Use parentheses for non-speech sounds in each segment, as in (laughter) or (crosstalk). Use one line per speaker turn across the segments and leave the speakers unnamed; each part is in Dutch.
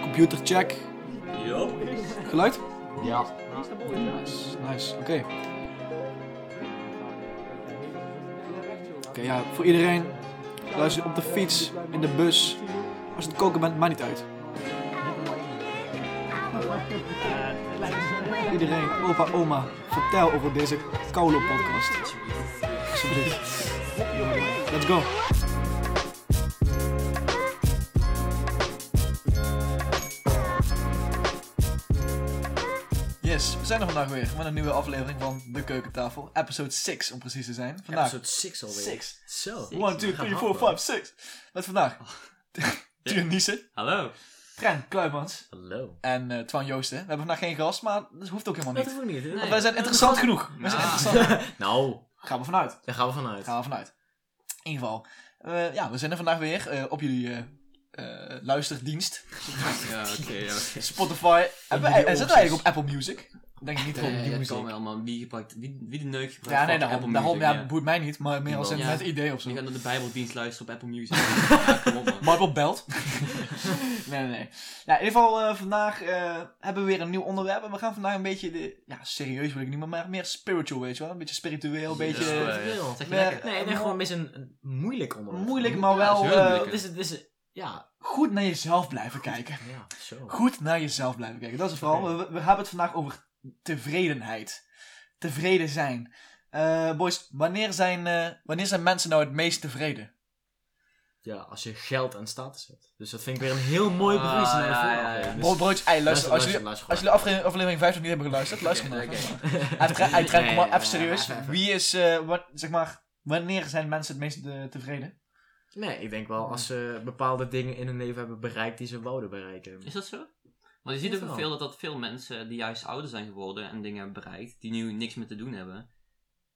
Computer check. Geluid?
Ja.
Nice, oké. Oké, ja, voor iedereen. Luister op de fiets, in de bus. Als je het koken bent, maakt niet uit. Iedereen, opa, oma, vertel over deze koude podcast. Alsjeblieft. Let's go. Yes, we zijn er vandaag weer met een nieuwe aflevering van De Keukentafel. Episode 6 om precies te zijn. Vandaag.
Episode 6 alweer.
6.
Zo.
1, 2, 3, 4, 5, 6. Met vandaag. Tuur Niesen,
Hallo.
Trent Kluimans
Hallo.
en eh Twan Joosten. We hebben vandaag geen gast, maar dat hoeft ook helemaal
Dat
niet.
hoef ik niet. hè?
Nee.
Wij zijn interessant genoeg. Wij zijn
Ah.
interessant.
(laughs) Nou,
Gaan we vanuit.
daar gaan we vanuit.
Gaan we vanuit. In ieder geval. eh, ja, we zijn er vandaag weer eh, op jullie eh, eh, luisterdienst.
Ja, oké. ja, oké.
Optify. En we- en
jullie
zitten we
oortjes.
eigenlijk op Apple Music? Denk ik niet op
Nee,
Apple
dat
Music.
kan wel, man. Wie, gebruikt, wie, wie de neuk gebruikt
Ja, nee,
fucking Apple
daarom, daarom
Music,
ja, boeit mij niet, maar meer als een
Niemand.
net idee of zo.
Je gaat naar de bijbeldienst luisteren op Apple
(laughs)
Music. ja, kom op, man.
Marble
(laughs)
belt. nee, nee, nee. Nou, in ieder geval, eh, vandaag eh, hebben we weer een nieuw onderwerp. En we gaan vandaag een beetje, de, ja, serieus wil ik niet, meer, maar meer spiritual, weet je wel. Een beetje spiritueel, een beetje
Ja,
eh,
eh,
Wil.
Zeg je
Nee.
lekker.
Nee, nee, gewoon mis een, een moeilijk onderwerp.
moeilijk,
Ja,
maar wel
dat is heel
eh,
moeilijk.
Het is, het is, ja,
goed naar jezelf blijven kijken.
ja, zo.
Goed naar jezelf blijven kijken. Dat is het vooral.
Oké.
We, we hebben het vandaag over tevredenheid. Tevreden zijn. Eh, boys, wanneer zijn, eh, wanneer zijn mensen nou het meest tevreden?
Ja, als je geld en status hebt. Dus dat vind ik weer een heel mooi bewijs naar de
Ah, ja, ja, ja.
vorige.
Bro- broodjes, ei, luister, als jullie, als
luister, luister, luister.
jullie aflevering, aflevering 5 nog niet hebben geluisterd, luister maar.
Oké, oké.
(laughs) Hij tra- hij trekt
Nee,
maar
nee,
even
nee,
serieus.
even, even.
Wie is, eh, wa- zeg maar, wanneer zijn mensen het meest eh, tevreden?
Nee, ik denk wel als ze bepaalde dingen in hun leven hebben bereikt die ze wouden bereiken.
Is dat zo? Want je ziet
Ja.
ook veel dat, dat veel mensen die juist ouder zijn geworden en dingen hebben bereikt, die nu niks meer te doen hebben,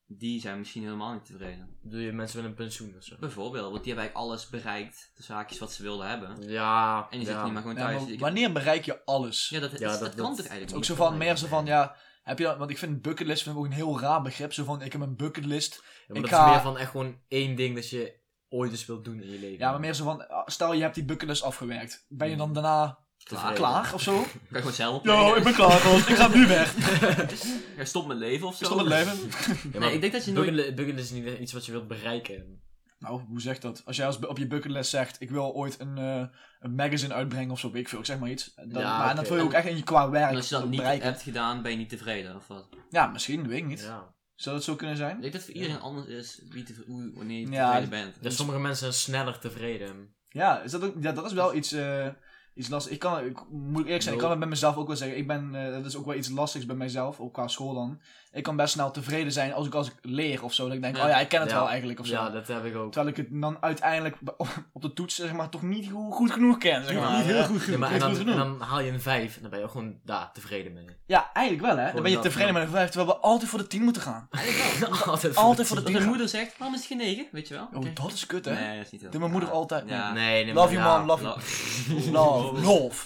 die zijn misschien helemaal niet tevreden.
Doe je mensen met een pensioen of zo?
Bijvoorbeeld, want die hebben eigenlijk alles bereikt, de zaakjes wat ze wilden hebben.
Ja.
En die
ja.
zitten niet maar gewoon
Ja,
thuis.
maar
Ik-
wanneer bereik je alles?
ja, dat,
Ja,
dat,
dat-
dat kan
dat-
toch
Het
eigenlijk niet?
is ook zo
kan
van,
ik
meer
wel,
zo van,
nee.
ja, heb je dat, want ik vind bucketlist vind ik ook een heel raar begrip. Zo van, ik heb een bucketlist,
Ja, maar
Ik
dat
ga-
is meer van echt gewoon één ding dat je ooit eens wilt doen in je leven.
Ja, maar meer zo van, ah, stel je hebt die bucketlist afgewerkt. Ben je dan daarna
Klaar.
klaar of zo?
Kan je gewoon zelf
Ja, ik ben klaar, gast. ik ga nu weg.
(laughs) Ja, Stop met leven of zo.
Is dat het leven?
Ja, maar
Nee, ik denk dat je nooit...
Buggelen, buggelen is niet iets wat je wilt bereiken.
Nou, hoe zegt dat? Als jij als, op je bucketlist zegt, ik wil ooit een, eh, een magazine uitbrengen of zo, weet ik veel, ik zeg maar iets. Dan,
Ja,
maar dat
oké.
wil je ook echt in je qua werk
En als je dat niet
bereiken.
hebt gedaan, ben je niet tevreden of wat?
Ja, misschien, weet ik niet.
Ja.
Zou dat zo kunnen
Ik
zijn?
denk dat voor iedereen anders is wie tevre- hoe, wanneer je
Ja,
tevreden bent.
Dus sommige mensen zijn sneller tevreden.
Ja, is dat, ook, ja, dat is wel iets, eh, iets lastigs. Ik kan, ik, moet ik eerlijk zijn, ik kan het bij mezelf ook wel zeggen. Ik ben, eh, dat is ook wel iets lastigs bij mijzelf, ook qua school dan. Ik kan best snel tevreden zijn als ik, als ik leer of zo. Dat ik denk,
Ja.
oh ja, ik ken het
Ja.
wel eigenlijk of zo.
Ja, dat heb ik ook.
Terwijl ik het dan uiteindelijk b- op de toets zeg maar, toch niet go- goed genoeg ken. Zeg maar.
Niet heel
goed
Ja, maar en,
Niet
dan,
goed genoeg.
en dan haal je een 5 en dan ben je ook gewoon daar tevreden mee.
Ja, eigenlijk wel hè. Dan
Gewoon
ben je
dat,
tevreden
ja.
met een vijf, terwijl we altijd voor de tien moeten gaan.
(laughs)
Altijd
Altijd
voor de
Als
tien.
mijn
gaan.
moeder zegt, waarom is het geen negen? Weet je wel? Oké.
Oh, dat is kut hè.
Nee, dat is niet heel
Doet mijn moeder altijd,
Ja.
Nee, nee,
Love
maar
you
ja.
mom, love (laughs) you.
La-
Love, (laughs) love.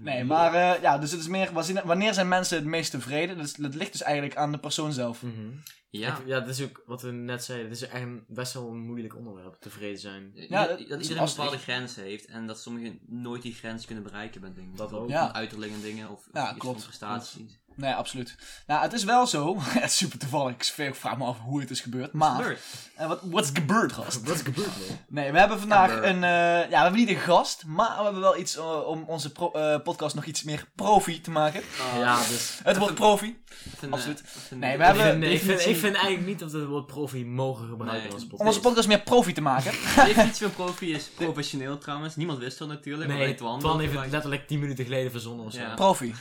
Nee, maar eh, ja, dus het is meer, wa- wanneer zijn mensen het meest tevreden? Dat, is- dat ligt dus eigenlijk aan de persoon zelf.
Mhm.
Ja.
Ik- ja, dat is ook wat we net zeiden. Het is echt een- best wel een moeilijk onderwerp, tevreden zijn.
Ja, dat-
dat,
dat is
iedereen een
lastig.
bepaalde grens heeft en dat sommigen nooit die grens kunnen bereiken met dingen.
Dat ook.
Ja.
Met Uiterlijk en dingen of, of
Ja,
iets van
klopt.
prestaties.
Nee, absoluut. Nou, het is wel zo. (laughs) Het is super toevallig. Ik zweer, ik vraag me af hoe het is gebeurd. Maar,
Gebeurt.
eh, wat what's gebeurd, gast?
Wat is gebeurd, man?
Nee, we hebben vandaag
Amber.
een. eh, ja, we hebben niet een gast, maar we hebben wel iets eh, om onze pro- eh, podcast nog iets meer profi te maken.
Ja, dus...
Het wordt profi.
Of een,
absoluut.
eh, of een-
Nee, we
Ik
hebben-
(laughs)
vind, ik, vind,
definitie-
ik vind eigenlijk niet dat we het woord profi mogen gebruiken
Nee.
als
Om
podcast.
onze podcast meer profi te maken.
De definitie van profi
(laughs)
is professioneel trouwens. Niemand wist dat natuurlijk. maar
Nee,
weet Twan
Twan
wel.
heeft het letterlijk 10 minuten geleden verzonnen of zo.
Ja.
Profi.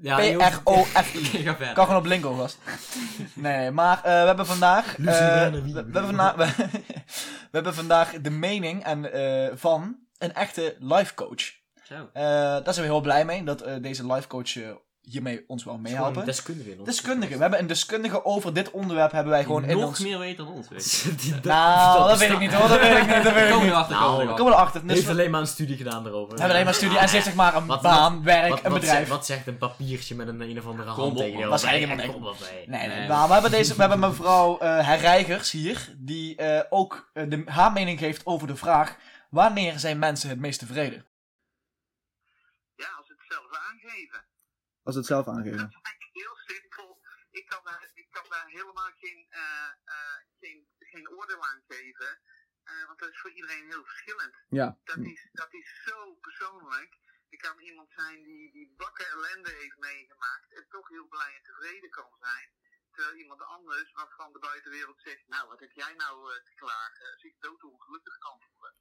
Ja, je hoeft-
P-R-O-F-I.
Ga verder.
Kan gewoon op Lingo, gast. (laughs) Nee, maar eh, we hebben vandaag. eh,
Luciana
we,
Wie.
we hebben vandaag we, (laughs) we hebben vandaag de mening en, eh, van een echte life coach.
Zo.
Eh, daar zijn we heel blij mee dat eh, deze life coach eh, hiermee ons wel
Het is gewoon
meehelpen.
Deskundige. in ons
Deskundige. We hebben een deskundige over dit onderwerp hebben wij gewoon in
nog
ons.
meer weet dan ons. Weet je.
podcast. (laughs) Die
(laughs)
dat-
Nou, dat weet ik niet hoor, dat weet ik niet, dat weet ik
Kom
niet.
erachter,
Nou,
kom erachter.
Kom maar erachter.
Die
Dus
heeft
we
alleen maar een studie gedaan daarover.
hebben alleen maar studie en ze heeft zeg maar een
Wat-
baan, werk,
Wat-
een
wat
bedrijf.
zegt- Wat zegt een papiertje met een een of andere
Kom op,
handtekening?
man.
Waarschijnlijk
Wat-
helemaal
Kom op, hey.
Nee, nee,
Nee.
maar we hebben, deze, we hebben mevrouw eh Herreigers hier, die eh, ook eh, de, haar mening geeft over de vraag: wanneer zijn mensen het meest tevreden?
Ja, zelf aangeven.
Als ze het zelf aangeven.
Dat is eigenlijk heel simpel. Ik kan daar, ik kan daar helemaal geen, eh, eh, geen, geen oordeel aan geven. eh, want dat is voor iedereen heel verschillend.
Ja.
Dat is, dat is zo persoonlijk. Er kan iemand zijn die, die bakken ellende heeft meegemaakt en toch heel blij en tevreden kan zijn. Terwijl iemand anders waarvan de buitenwereld zegt, nou wat heb jij nou eh, te klagen, zich doodongelukkig kan voelen.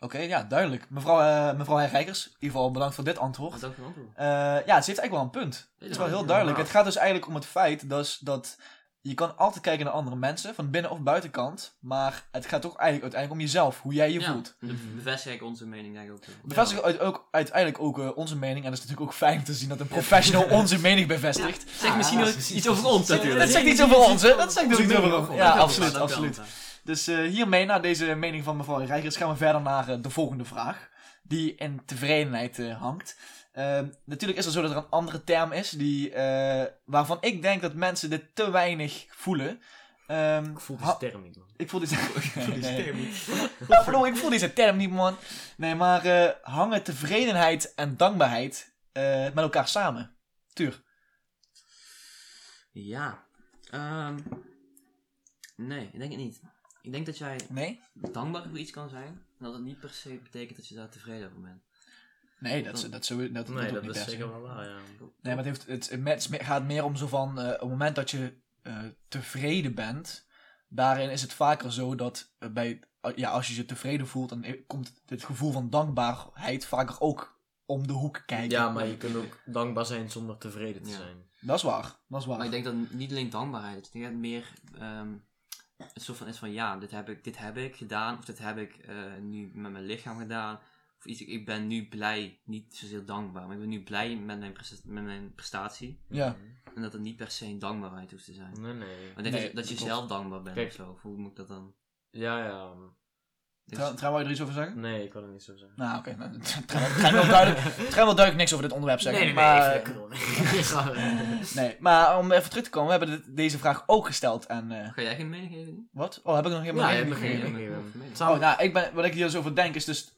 Oké, ja, duidelijk. Mevrouw, eh mevrouw Herrijkers, in ieder geval bedankt voor dit antwoord.
Wat dank voor het antwoord.
Eh, ja, het heeft eigenlijk wel een punt. Het is wel heel duidelijk. Het gaat dus eigenlijk om het feit dat, is- dat je kan altijd kijken naar andere mensen, van binnen of buitenkant. Maar het gaat toch eigenlijk uiteindelijk om jezelf, hoe jij je
Ja,
voelt.
dan bevestig ik onze mening denk ik ook. wel.
Bevestigt uit, ook, uiteindelijk ook eh, onze mening. En dat is natuurlijk ook fijn om te zien dat een professional (laughs) onze mening bevestigt.
Zeg misschien
ja,
nog
precies.
iets over ons natuurlijk.
Dat zegt iets over ons, hè? Dat zegt dus iets over ons.
Dank
Ja,
wel,
absoluut,
dank wel,
absoluut.
dank wel.
Dus eh, hiermee, na deze mening van mevrouw Rijkers, gaan we verder naar eh, de volgende vraag. Die in tevredenheid eh, hangt. Eh, natuurlijk is er zo dat er een andere term is die, eh, waarvan ik denk dat mensen dit te weinig voelen. Ehm,
Ik voel die
ha-
sterren niet, man.
ik voel
(laughs)
deze
Die
term.
sterren niet.
Oh, ik voel deze term niet, man. Nee, maar eh, hangen tevredenheid en dankbaarheid eh, met elkaar samen? Tuur.
Ja. Ehm, nee, ik denk het niet. Ik denk dat jij
Nee?
dankbaar voor iets kan zijn, en dat het niet per se betekent dat je daar tevreden over bent.
Nee, dat, is- dat, zo, dat, dat
Nee,
ook
dat
niet
is
per se.
zeker wel waar, ja.
Nee, maar het, heeft, het, het met- het gaat meer om zo van, eh, op het moment dat je eh, tevreden bent, daarin is het vaker zo dat eh, bij, eh, ja, als je je tevreden voelt, dan eh, komt het gevoel van dankbaarheid vaker ook om de hoek kijken.
Ja, maar je kunt ook dankbaar zijn zonder tevreden te
Ja.
zijn.
Dat is waar, dat is waar.
Maar ik denk dat niet alleen dankbaarheid, ik denk dat het meer ehm een soort van is van ja, dit heb ik, dit heb ik gedaan, of dit heb ik eh, nu met mijn lichaam gedaan. Of iets, ik ben nu blij, niet zozeer dankbaar, maar ik ben nu blij met mijn, presta- met mijn prestatie.
Ja,
En dat het niet per se een dankbaarheid hoeft te zijn.
Nee, Mm. nee.
Maar ik denk
Nee,
dat, dat je
klopt.
zelf dankbaar bent
Kijk.
of zo. Of hoe moet ik dat dan?
Ja, ja.
Dus-
Trouw, Trouw, wou je er iets over zeggen?
Nee, ik kan het niet zo zeggen.
Nou, oké. nou, (laughs) Trouw Trouw wil duidelijk, Trouw wil duidelijk niks over dit onderwerp zeggen. maar, (laughs) nee, maar om even terug te komen, we hebben dit- deze vraag ook gesteld aan... eh,
Ga jij geen mening geven? nu?
wat? Oh, heb ik nog (laughs) helemaal
Ja,
geen
je hebt
mening
nog geen
gegeven?
mening
mening.
gegeven.
Oh,
Samen-
nou, ik ben, wat ik hier zo over denk is dus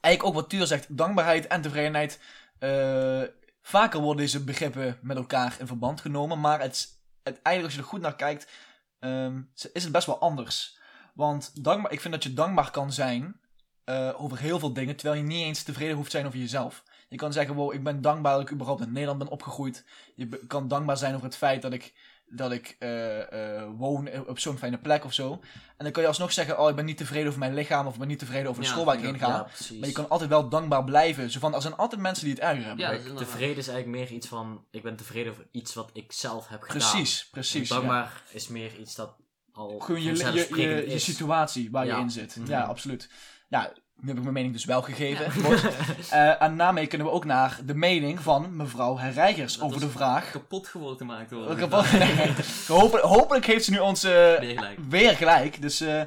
eigenlijk ook wat Tuur zegt, dankbaarheid en tevredenheid. eh, vaker worden deze begrippen met elkaar in verband genomen, maar het, is- het, eigenlijk als je er goed naar kijkt, ehm, is het best wel anders. Want dankbaar, ik vind dat je dankbaar kan zijn eh, over heel veel dingen, terwijl je niet eens tevreden hoeft te zijn over jezelf. Je kan zeggen, wow, ik ben dankbaar dat ik überhaupt in Nederland ben opgegroeid. Je be- kan dankbaar zijn over het feit dat ik, dat ik eh, eh, woon op zo'n fijne plek of zo. En dan kan je alsnog zeggen, oh, ik ben niet tevreden over mijn lichaam of ik ben niet tevreden over de
Ja,
school waar ik heen
ja,
ga.
Ja, precies.
Maar je kan altijd wel dankbaar blijven. Zo van, er zijn altijd mensen die het erger hebben.
Ja, dat is
Kijk,
inderdaad-
tevreden is eigenlijk meer iets van, ik ben tevreden over iets wat ik zelf heb gedaan.
precies, precies.
En
ja.
Nou, Dankbaar is meer iets dat al
Gewoon je, je,
vanzelfsprekend
je, je
is. (laughs)
situatie waar
Ja.
je in zit.
Mhm.
Ja, absoluut. Ja, nu heb ik mijn mening dus wel gegeven. Wordt. Eh, en daarmee kunnen we ook naar de mening van mevrouw Herrijgers
Dat
over
was-
de vraag.
Kapot geworden te maken worden. (laughs)
Kapot- (laughs) hopelijk, hopelijk heeft ze nu ons eh,
Ben je gelijk.
weer gelijk. Dus eh,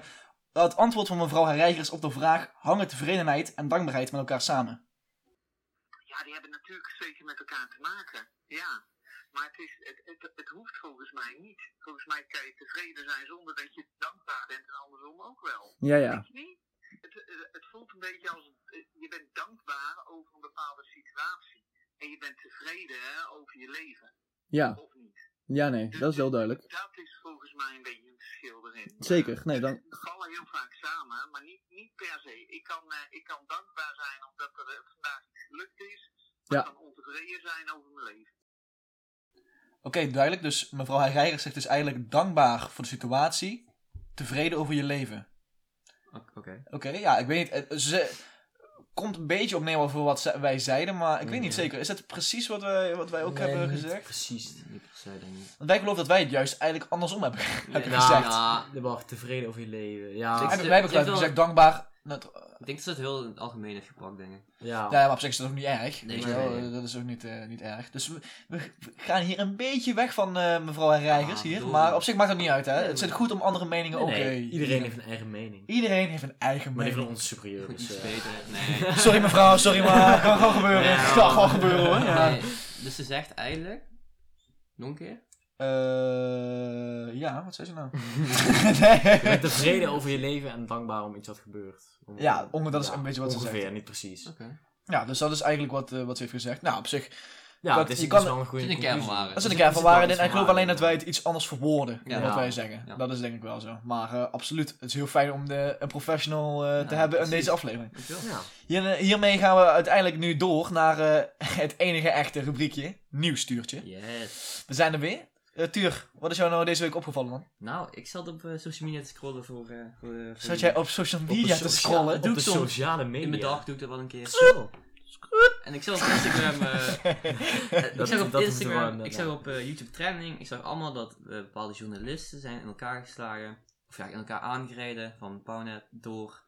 het antwoord van mevrouw Herrijgers op de vraag... hangen tevredenheid en dankbaarheid met elkaar samen?
Ja, die hebben natuurlijk zeker met elkaar te maken. Ja. Maar het, is, het, het, het hoeft volgens mij niet. Volgens mij kan je tevreden zijn zonder dat je dankbaar bent en andersom ook wel.
Ja, ja.
Weet je niet? Het, eh, het voelt een beetje als eh, je bent dankbaar over een bepaalde situatie. En je bent tevreden hè, over je leven.
Ja,
Of niet.
ja, nee.
dat is heel
duidelijk.
Dat is volgens mij een beetje een verschil erin.
Zeker, nee, dan-
Ze vallen heel vaak samen, maar niet, niet per se. Ik kan, eh, ik kan dankbaar zijn omdat er eh, vandaag iets gelukt is. Maar
Ja.
Ik kan ontevreden zijn over mijn leven.
Oké, duidelijk. Dus mevrouw Herrijger zegt dus eigenlijk dankbaar voor de situatie, tevreden over je leven.
Oké.
Oké, ja, ik weet niet. eh, Ze komt een beetje op neer over wat ze- wij zeiden, maar ik weet niet
Ja.
zeker. Is dat precies wat wij, wat wij ook hebben
Mhm. niet
gezegd?
Precies.
Niet per se, denk ik.
Want wij geloven dat wij het juist eigenlijk andersom hebben, hebben
Ja, nou,
gezegd.
ja.
Je bent tevreden over je leven.
Ik-
Ja,
Hebben- wij hebben
Je hebt
gelijk
wel- Oh.
gezegd dankbaar. Nou, t-
Ik denk dat ze het heel in het algemeen heeft gepakt, denk ik.
ja.
Ja, maar op zich is dat ook niet erg.
Nee,
Weet je wel,
nee,
eh, Dat is ook niet, eh, niet erg. Dus we, we gaan hier een beetje weg van eh, mevrouw Herrijgers
Ah,
hier.
doei.
Maar op zich maakt dat niet uit, hè.
Nee,
het zit
maar-
goed om andere meningen
Nee,
ook...
nee,
eh,
iedereen heeft een eigen mening.
Iedereen heeft een eigen
Maar die
mening.
van ons is superieur.
Goed, (laughs)
Dus,
iets
eh,
beter. Nee.
Sorry mevrouw, sorry
(laughs)
maar. Kan gewoon gebeuren.
Nee,
kan gewoon gebeuren hoor. Oh Ja.
Nee, dus ze zegt eigenlijk... Nog een keer?
Eh, ja, wat zei ze nou? (laughs) nee.
je
(laughs)
bent tevreden over je leven en dankbaar om iets wat gebeurt. Om-
Ja, ongeveer, dat is een beetje wat ze
ongeveer,
zegt.
niet precies.
Oké.
Ja, dus dat is eigenlijk wat, eh, wat ze heeft gezegd. Nou, op zich,
Ja,
Dat-
dat is,
je
je
kan-
wel een goede
Zit een
conclusie.
kernwaarde.
dat is een
Dus
kern
er
van
zit wel
waarheid
iets
in. En ik geloof
van
alleen dat wij
waarheid
het iets anders verwoorden
Ja.
dan wat
Ja.
wij zeggen.
Ja.
Dat is denk ik wel zo. Maar eh, absoluut, het is heel fijn om de, een professional eh, te
Ja,
hebben in
precies.
deze aflevering.
Dankjewel.
Ja.
Hier- eh, hiermee gaan we uiteindelijk nu door naar eh, (laughs) het enige echte rubriekje, nieuwstuurtje.
Yes.
We zijn er weer. Eh, Tuur, wat is jou nou deze week opgevallen man?
Nou, ik zat op eh, social media te scrollen voor... eh, voor, eh, voor
Zat jij op social
de
media te
socia-
scrollen?
Dat doe
op
ik
de
soms.
sociale media.
In mijn dag doe ik dat wel een keer.
Zo.
En ik zag op
(laughs)
Instagram... eh, ik
Dat-
zag op
dat is
Instagram,
waar,
ik zag op eh, YouTube Trending, ik zag allemaal dat eh, bepaalde journalisten zijn in elkaar geslagen, of ja, in elkaar aangereden van Pownet door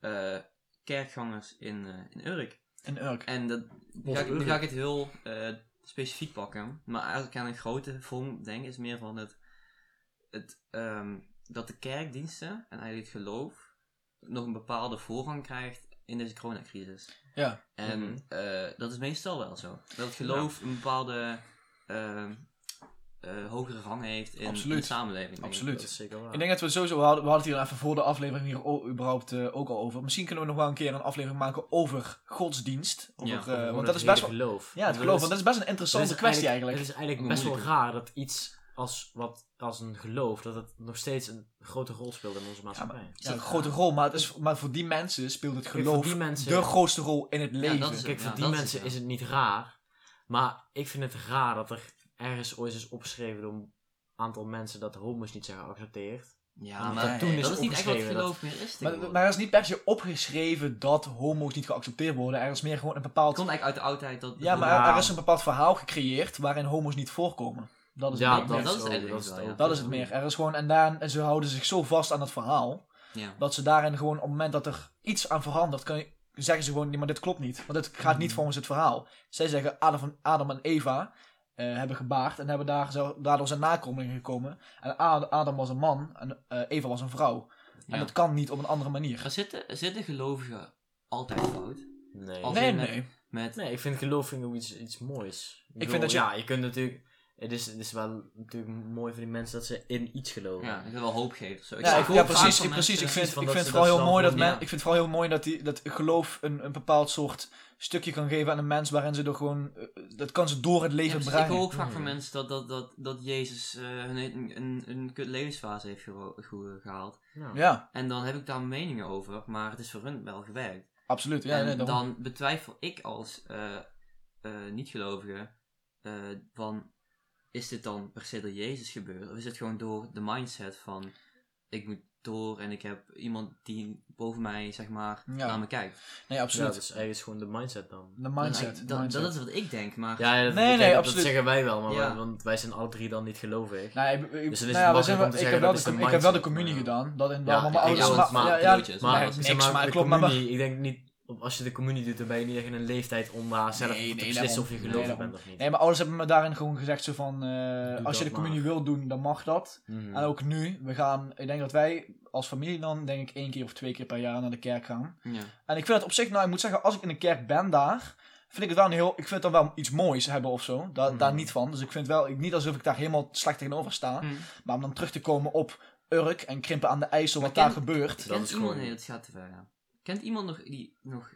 eh, kerkgangers in, eh, in
(laughs)
Urk.
Een Urk.
En dat, nu, ga ik, nu ga ik het heel eh, specifiek pakken, maar eigenlijk aan een grote vorm denk is meer van het, het ehm, dat de kerkdiensten en eigenlijk het geloof nog een bepaalde voorrang krijgt in deze coronacrisis.
Ja.
En
Mhm.
eh, dat is meestal wel zo. Dat het geloof een bepaalde eh, eh, hogere rang heeft in, in
Absoluut.
de samenleving. denk ik.
Absoluut.
Dat is zeker waar.
Ik denk dat we sowieso, we hadden, we hadden het hier even voor de aflevering hier o- überhaupt eh, ook al over. Misschien kunnen we nog wel een keer een aflevering maken over godsdienst. Over,
Ja,
eh,
Gewoon
want dat
het
is best
Oh, hele
wel,
geloof.
ja, het
Ik bedoel,
geloof,
dat
want
is-
dat is best een
dat is
interessante kwestie eigenlijk.
Het is eigenlijk dus-
Een
best wel
moeilijke.
raar dat iets als wat als een geloof, dat het nog steeds een grote rol speelt in onze maatschappij.
Ja, een grote rol, maar, het is, maar voor die mensen speelt het
voor
geloof
die mensen-
de grootste rol in het leven.
dat is het.
Kijk, voor
Ja,
die
dat is
mensen
het, ja.
is het niet raar. Maar ik vind het raar dat er ergens ooit is opgeschreven door een aantal mensen dat homo's niet zijn geaccepteerd.
Ja,
Want
maar
dat
dat,
toen is
is niet echt wat
opgeschreven, dat-
geloof meer is
maar,
tegenwoordig.
maar er is niet per se opgeschreven dat homo's niet geaccepteerd worden. Er is meer gewoon een
Het
bepaald...
komt eigenlijk uit de oudheid dat...
Ja, maar
Ja.
er is een bepaald verhaal gecreëerd waarin homo's niet voorkomen. Dat is,
ja,
het, meer.
dat
dat,
is
is
eigenlijk
ook, dat is
wel,
ook.
ja.
dat is het meer. Er is gewoon, en, daar, en ze houden zich zo vast aan dat verhaal...
Ja.
Dat ze daarin gewoon op het moment dat er iets aan verandert, kan je, zeggen ze gewoon, nee, maar dit klopt niet. Want het gaat
Mm.
niet volgens het verhaal. Zij zeggen, Adam, van, Adam en Eva eh, hebben gebaard en hebben daar, zo- daardoor zijn nakomelingen gekomen. En A- Adam was een man en eh, Eva was een vrouw. En
Ja.
dat kan niet op een andere manier.
Maar zitten, zitten gelovigen altijd fout?
Nee.
Als-
Nee,
in, eh,
nee.
Met,
Nee, ik vind geloof vind ik ook iets, iets moois. Ik,
vind dat je-
Ja, je kunt natuurlijk... Het is, het is wel natuurlijk mooi voor die mensen dat ze in iets geloven.
ja, ik wil wel hoop geven. of Zo. Ik
Ja,
zag
ik-
ook
ja,
vaak
precies.
van
Ik, precies
mensen-
ik vind,
van
ik
dat
vind
ze
het vooral
dat
heel
zelf
mooi dat
doen,
men,
ja.
ik vind het vooral heel mooi dat, die, dat geloof een, een bepaald soort stukje kan geven aan een mens waarin ze door gewoon, eh, dat kan ze door het
Ja,
leven
precies. ik hoor
brengen.
ook vaak van
Mm.
mensen dat, dat, dat, dat Jezus eh, hun een, een, een kut levensfase heeft gero- ge- gehaald.
Nou, Ja.
Ja,
En dan heb ik daar meningen over, maar het is voor hun wel gewerkt.
absoluut. Ja,
en
nee, daarom.
Ehm, dan betwijfel ik als eh, eh, niet-gelovige eh, van, is dit dan per se door Jezus gebeurd? Of is het gewoon door de mindset van, ik moet door en ik heb iemand die boven mij, zeg maar,
Ja.
naar me kijkt.
nee,
Ja,
absoluut.
dat is eigenlijk gewoon de mindset dan.
De
Dan-
mindset.
dan-
de mindset.
Dat is wat ik denk, maar...
Ja, ja, dat,
Nee,
kijk,
nee,
dat-
absoluut.
dat zeggen wij wel, maar
Ja.
wij- want wij zijn alle drie dan niet gelovig.
Nee, ik, ik-
Dus
nou
het is
ja, we
makkelijk
zijn
om
wel-
te
ik
zeggen
heb wel
dat
de,
is de
com- ik heb wel de communie
mindset,
gedaan. Dat in,
Ja,
maar mijn
ik
ouders...
ook,
maar-
maar
ja, ja,
cadeautjes,
maar
maar
nee,
niks,
zeg maar,
maar
de
klopt, maar-
communie, ik denk niet, op- als je de communie doet, dan ben je niet echt in een leeftijd om daar zelf
Nee,
te
nee,
beslissen of je
daarom.
gelovig
Nee,
bent of niet.
Nee, mijn ouders hebben me daarin gewoon gezegd zo van... eh,
Doe
als je
dat
de communie
maar.
wil doen, dan mag dat.
Mhm.
En ook nu, we gaan... Ik denk dat wij als familie dan, denk ik, één keer of twee keer per jaar naar de kerk gaan.
Ja.
En ik vind het op zich, nou, ik moet zeggen, als ik in een kerk ben daar... Vind ik het wel een heel... Ik vind het dan wel iets moois hebben of zo. Da- Daar
Mhm.
niet van. Dus ik vind wel... Ik, niet alsof ik daar helemaal slecht tegenover sta.
Hm.
Maar om dan terug te komen op... Urk en krimpen aan de IJssel, wat
Maar
daar
ken-
gebeurt.
Dat
Kent
is
iemand,
gewoon-
nee, dat gaat te ver, ja. Kent iemand nog die nog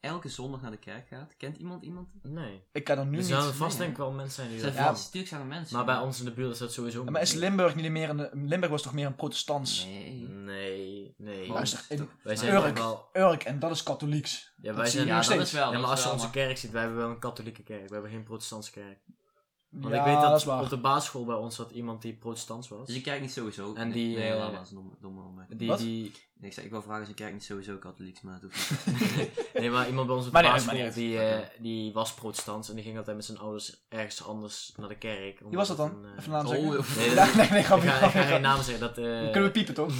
elke zondag naar de kerk gaat? Kent iemand iemand?
Nee. Dus
Ik kan er nu
Er
niet...
zouden vast
nee.
denk ik wel mensen zijn die
Er
dat
zijn
Ja.
ja.
doen.
natuurlijk zijn er mensen.
Maar bij ons in de buurt is dat sowieso
Maar is
niet.
Limburg niet meer een... Limburg was toch meer een protestants...
Nee.
Nee, nee.
Maar Luister, in
Wij zijn
Urk,
wel...
Urk, en dat is katholieks.
Ja,
dat
wij
zie je
zijn...
nu
Ja,
nog
dat-
steeds.
is wel.
ja, maar
dat
als
is
je
wel,
onze
maar-
kerk ziet, wij hebben wel een katholieke kerk. We hebben geen protestantse kerk. Want
ja,
ik weet dat,
dat is waar.
op de basisschool bij ons zat iemand die protestants was.
Dus je kijkt niet sowieso.
En die,
Nee,
eh,
laat maar, dat is een domme- domme opmerking.
Die,
Wat?
die,
Ik, zei, ik wil vragen, is een kerk niet sowieso katholiek, maar
(laughs)
dat hoeft niet.
nee, maar iemand bij ons op de
Maar nee,
basisschool,
maar niet
die,
uit.
eh, die was protestants en die ging altijd met zijn ouders ergens anders naar de kerk.
Wie was dat dan?
omdat het
Even
een, eh,
naam zeggen.
oh,
nee, dat-
Ja, nee, nee,
ik
grapje.
(laughs) ga, ik ga
grapje.
geen naam zeggen, dat... eh
(laughs) Kunnen we piepen, toch?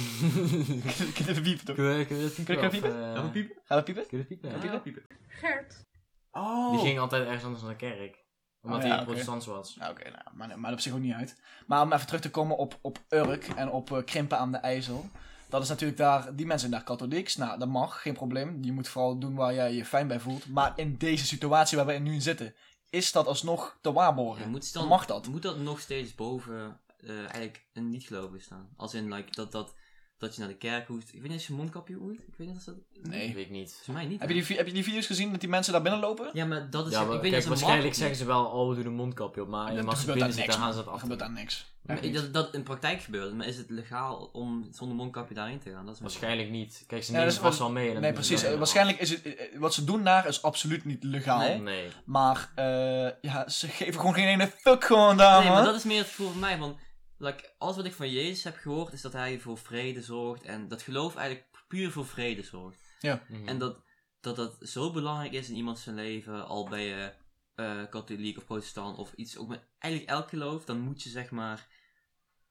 Kunnen we piepen, toch?
Kunnen we kunnen we dat
Kunnen we
piepen?
piepen?
Of, eh,
Gaan we piepen?
Gaan we piepen?
Kunnen we piepen? ja.
Ja, piepen.
Gert.
Oh!
Die ging altijd ergens anders naar de kerk. Omdat
Oh,
hij
ja, oké.
protestants was.
Nou, Oké, nou, maar, maar op zich ook niet uit. Maar om even terug te komen op, op Urk en op eh, Krimpen aan de IJssel. Dat is natuurlijk daar, die mensen zijn daar katholieks. Nou, dat mag, geen probleem. Je moet vooral doen waar jij je fijn bij voelt. Maar in deze situatie waar we nu in zitten, is dat alsnog te
Ja,
waarborgen.
moet, dan,
Mag dat?
Moet dat nog steeds boven eh, eigenlijk een niet-gelovige staan? Als in, like, dat dat dat je naar de kerk hoest. Ik weet niet eens je een mondkapje hoest. Ik weet niet of dat...
Nee.
Weet ik niet.
Volgens mij niet.
Heb je, die, vi- heb je die video's gezien dat die mensen daar binnen lopen?
Ja, maar dat is...
Ja,
ik
maar
weet
kijk,
niet als een
waarschijnlijk zeggen
marketing-
ze wel, oh, we doen een mondkapje op, maar in de
Er
massa
gebeurt daar
binnen zit,
niks.
dan gaan
man.
ze dat
Er
af.
gebeurt daar niks.
Maar
Echt niet.
dat, dat in praktijk gebeurt, maar is het legaal om zonder mondkapje daarin te gaan? Dat is mijn
Waarschijnlijk niet. Kijk, ze
Ja,
nemen
dat is
vast
wel-
wel mee. en dan
Nee,
doen ze
precies. Eh,
dat helemaal.
Waarschijnlijk is het, eh, eh, wat ze doen daar is absoluut niet legaal.
Nee.
Nee.
Maar eh, ja, ze geven gewoon geen ene fuck gewoon daar,
Nee,
man.
maar dat is meer het gevoel van mij. Want like, alles wat ik van Jezus heb gehoord, is dat hij voor vrede zorgt. En dat geloof eigenlijk puur voor vrede zorgt.
Mhm.
En dat, dat dat zo belangrijk is in iemands zijn leven, al ben je eh, katholiek of protestant of iets, ook met eigenlijk elk geloof, dan moet je zeg maar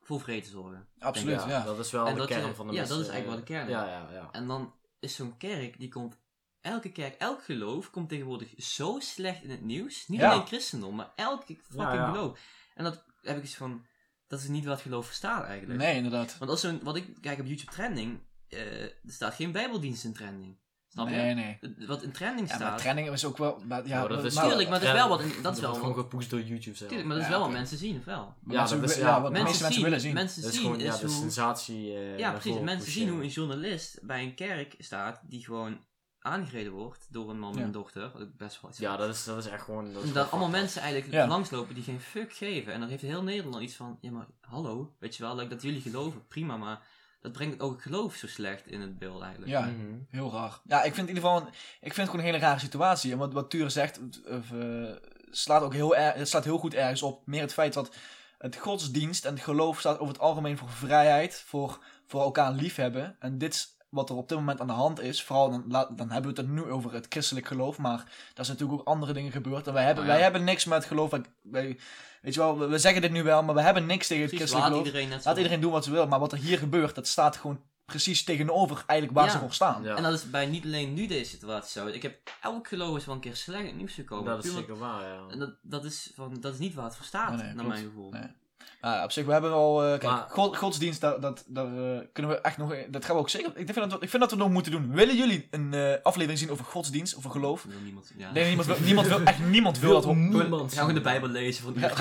voor vrede zorgen.
Absoluut, ja.
Dat is wel
En
de
dat je-
kern van de
ja,
mensen. eh,
dat is eigenlijk wel de kern.
Ja, ja, ja.
En dan is zo'n kerk, die komt, elke kerk, elk geloof komt tegenwoordig zo slecht in het nieuws. Niet
Ja.
alleen christendom, maar elk fucking
Ja, ja.
geloof. En dat heb ik iets van, dat is niet wat geloof verstaat eigenlijk.
Nee, inderdaad.
Want als zo'n, wat ik kijk op YouTube trending, eh, er staat geen bijbeldienst in trending. Snap je?
Nee, nee.
Wat in trending
Ja,
staat.
maar training is ook wel... Maar, ja,
Oh, dat is
maar,
Tuurlijk, maar dat is wel wat- dat is
wordt
wel wat-
gewoon gepoest door YouTube zelf.
Tuurlijk, maar dat
Ja,
is wel wat
oké.
mensen zien, of wel?
maar
Ja,
mensen,
dat is-
willen- ja,
ja,
wat de
mensen
meeste mensen willen zien.
Mensen
Dat is
zien
gewoon ja,
is
dat is
hoe-
sensatie. eh,
Ja,
naar
precies.
voren
Mensen zien
pushen.
hoe een journalist bij een kerk staat die gewoon aangereden wordt door een man en
Ja.
een dochter. Wat ik best wel iets
Ja,
vind.
dat is, dat is echt gewoon. Dat is
En
gewoon
dat allemaal
fucked up.
mensen eigenlijk
Ja.
langslopen die geen fuck geven. En dan heeft heel Nederland iets van, ja maar hallo, weet je wel, like, dat jullie geloven, prima, maar dat brengt ook het geloof zo slecht in het beeld eigenlijk.
Ja,
Mhm.
Heel raar. Ja, ik vind in ieder geval een- ik vind het gewoon een hele rare situatie. En wat, wat Ture zegt, of, eh, slaat ook heel, erg- het slaat heel goed ergens op. Meer het feit dat het godsdienst en het geloof staat over het algemeen voor vrijheid, voor, voor elkaar liefhebben. En dit is wat er op dit moment aan de hand is. Vooral dan, laat- dan hebben we het er nu over het christelijk geloof, maar daar zijn natuurlijk ook andere dingen gebeurd. En wij hebben,
Oh ja.
wij hebben niks met geloof. Wij, wij- weet je wel, we, we zeggen dit nu wel, maar we hebben niks tegen het
Precies,
christelijk
laat
geloof.
iedereen net zo.
Laat iedereen doen wat ze wil, maar wat er hier gebeurt, dat staat gewoon precies tegenover eigenlijk waar
Ja.
ze voor staan.
Ja,
En dat is bij niet alleen nu deze situatie zo. Ik heb elk geloof is wel een keer slecht in het nieuws gekomen.
dat is
Puur-
zeker waar, ja.
En dat, dat, is van, dat is niet waar het voor staat,
Nee, nee,
naar
klopt.
mijn gevoel.
Nee. Nou, ja, op zich, we hebben al. eh, kijk,
Maar-
god- godsdienst, daar, dat, daar eh, kunnen we echt nog. Dat gaan we ook zeker. Ik vind dat, ik vind dat we nog moeten doen. Willen jullie een eh, aflevering zien over godsdienst, over geloof?
Ik wil niemand, ja.
Nee, niemand wil, niemand wil echt niemand
(laughs)
wil dat. We,
Ik ga gewoon de Bijbel lezen van (laughs) ja.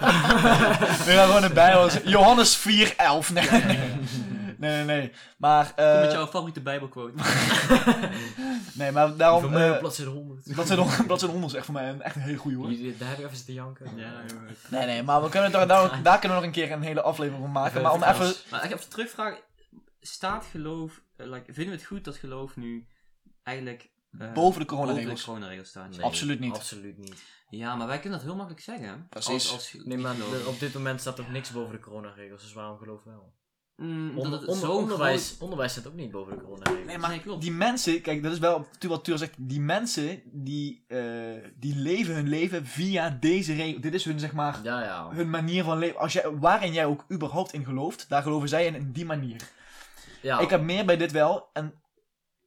we gaan gewoon erbij.
(laughs)
horen. Johannes 4, 11. Nee, nee, nee. nee. Maar, eh,
Kom met jouw favoriete
(laughs)
Bijbelquote.
nee, maar daarom.
Voor mij op
eh,
bladzijde 100.
Dat zijn hon- dat zijn honderd, echt voor mij een, echt een hele goede
(laughs)
hoor.
Hier, Daar heb ik even zitten janken.
ja,
Eh,
jongen.
Nee, nee, maar we kunnen daar, daar, daar kunnen we nog een keer een hele aflevering van maken. Maar om even.
Maar ik heb even terugvraag. Staat geloof, eh, like, vinden we het goed dat geloof nu eigenlijk eh,
Boven de
boven
coronaregels.
de coronaregels staat?
nee,
Absoluut niet.
Absoluut niet.
Ja, maar wij kunnen dat heel makkelijk zeggen.
Precies.
Als, als ge-
Nee, maar
geloof.
de- op dit moment staat ook niks boven de coronaregels, dus waarom geloof wel?
Mm,
Onder,
omdat het
onder-
zo'n
onderwijs,
groot-
onderwijs staat ook niet boven de coronaregels.
Nee,
Nee,
maar
klopt.
Die mensen, kijk, dat is wel tu- wat Tuur zegt. Die mensen, die, eh, die leven hun leven via deze regel. Dit is hun, zeg maar,
Ja, ja.
hun manier van leven. Als jij, waarin jij ook überhaupt in gelooft, daar geloven zij in, in die manier.
ja.
Ik heb meer bij dit wel. En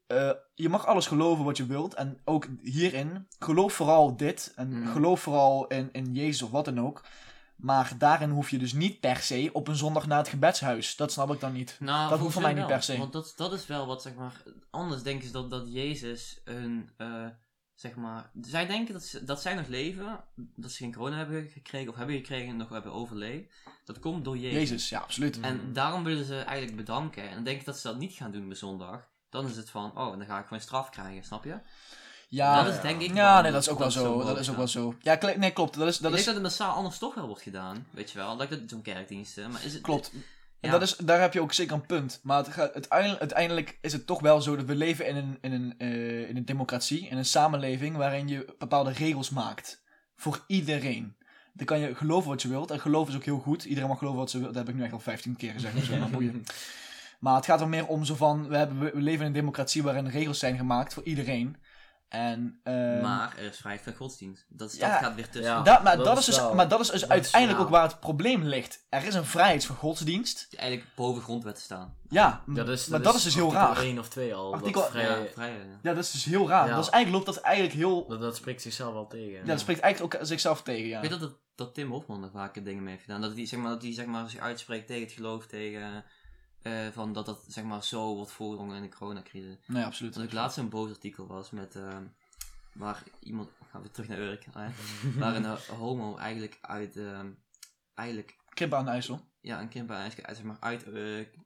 eh, je mag alles geloven wat je wilt. En ook hierin, geloof vooral dit. En
Mhm.
geloof vooral in, in Jezus of wat dan ook. Maar daarin hoef je dus niet per se op een zondag naar het gebedshuis. Dat snap ik dan niet.
Nou,
Dat hoeft voor mij
wel,
niet per se.
Want dat, dat is wel wat, zeg maar... Anders denken ze dat, dat Jezus hun, eh, zeg maar... Zij denken dat, ze, dat zij nog leven, dat ze geen corona hebben gekregen, of hebben gekregen en nog hebben overleefd. Dat komt door Jezus.
Jezus, ja, absoluut.
Mhm.
En daarom willen ze eigenlijk bedanken. En denken dat ze dat niet gaan doen bij zondag. Dan is het van, oh, dan ga ik gewoon straf krijgen, snap je?
Ja,
dat is denk ik...
Ja,
wel-
nee, dat is ook wel zo.
mogelijk
Dat is ook
gaat.
wel zo. Ja, kle- nee, klopt. Dat is,
Ik
dat
denk
is,
dat het massaal anders toch wel wordt gedaan, weet je wel. Dat dat zo'n kerkdiensten, maar is het...
klopt. En
Ja.
dat is, daar heb je ook zeker een punt. Maar het gaat, uiteindelijk, uiteindelijk is het toch wel zo dat we leven in een, in, een, eh, in een democratie, in een samenleving waarin je bepaalde regels maakt. Voor iedereen. Dan kan je geloven wat je wilt. En geloof is ook heel goed. Iedereen mag geloven wat ze wil. Dat heb ik nu echt al 15 keer gezegd. Dus maar,
(laughs)
boeien. maar het gaat er meer om zo van, we, hebben, we leven in een democratie waarin regels zijn gemaakt voor iedereen. En, ehm,
Maar er is vrijheid van godsdienst. Dat, is,
ja.
dat gaat weer tussen.
Ja.
Dat, maar, dat
Dat
is
is
dus,
wel-
maar dat is dus
dat is
uiteindelijk
wel-
ook waar het probleem ligt. Er is een vrijheid van godsdienst.
Die eigenlijk boven grondwet staan.
Ja,
Ja, dus
maar dat is, dus heel raar.
1 of 2 al.
Artikel-
Dat, vrij,
Ja, vrij, ja.
Ja, dat is dus heel raar.
Ja.
Dat is eigenlijk loopt dat eigenlijk heel...
dat, dat spreekt zichzelf al tegen.
Ja, dat spreekt eigenlijk ook zichzelf tegen, ja.
Ik weet dat, dat, dat Tim Hofman daar vaker dingen mee heeft gedaan. Dat hij zeg maar, dat die, zeg maar, zich uitspreekt tegen het geloof, tegen eh, van dat dat zeg maar, zo wordt voorgedrongen in de coronacrisis.
Nee, absoluut.
Dat ik laatst een boos artikel was met eh, waar iemand, gaan we terug naar Urk, hè? waar een eh, homo ehm, eigenlijk uit, eh, eigenlijk
Krip aan de IJssel.
ja, een kind bij ijs- zeg maar, uit, eh,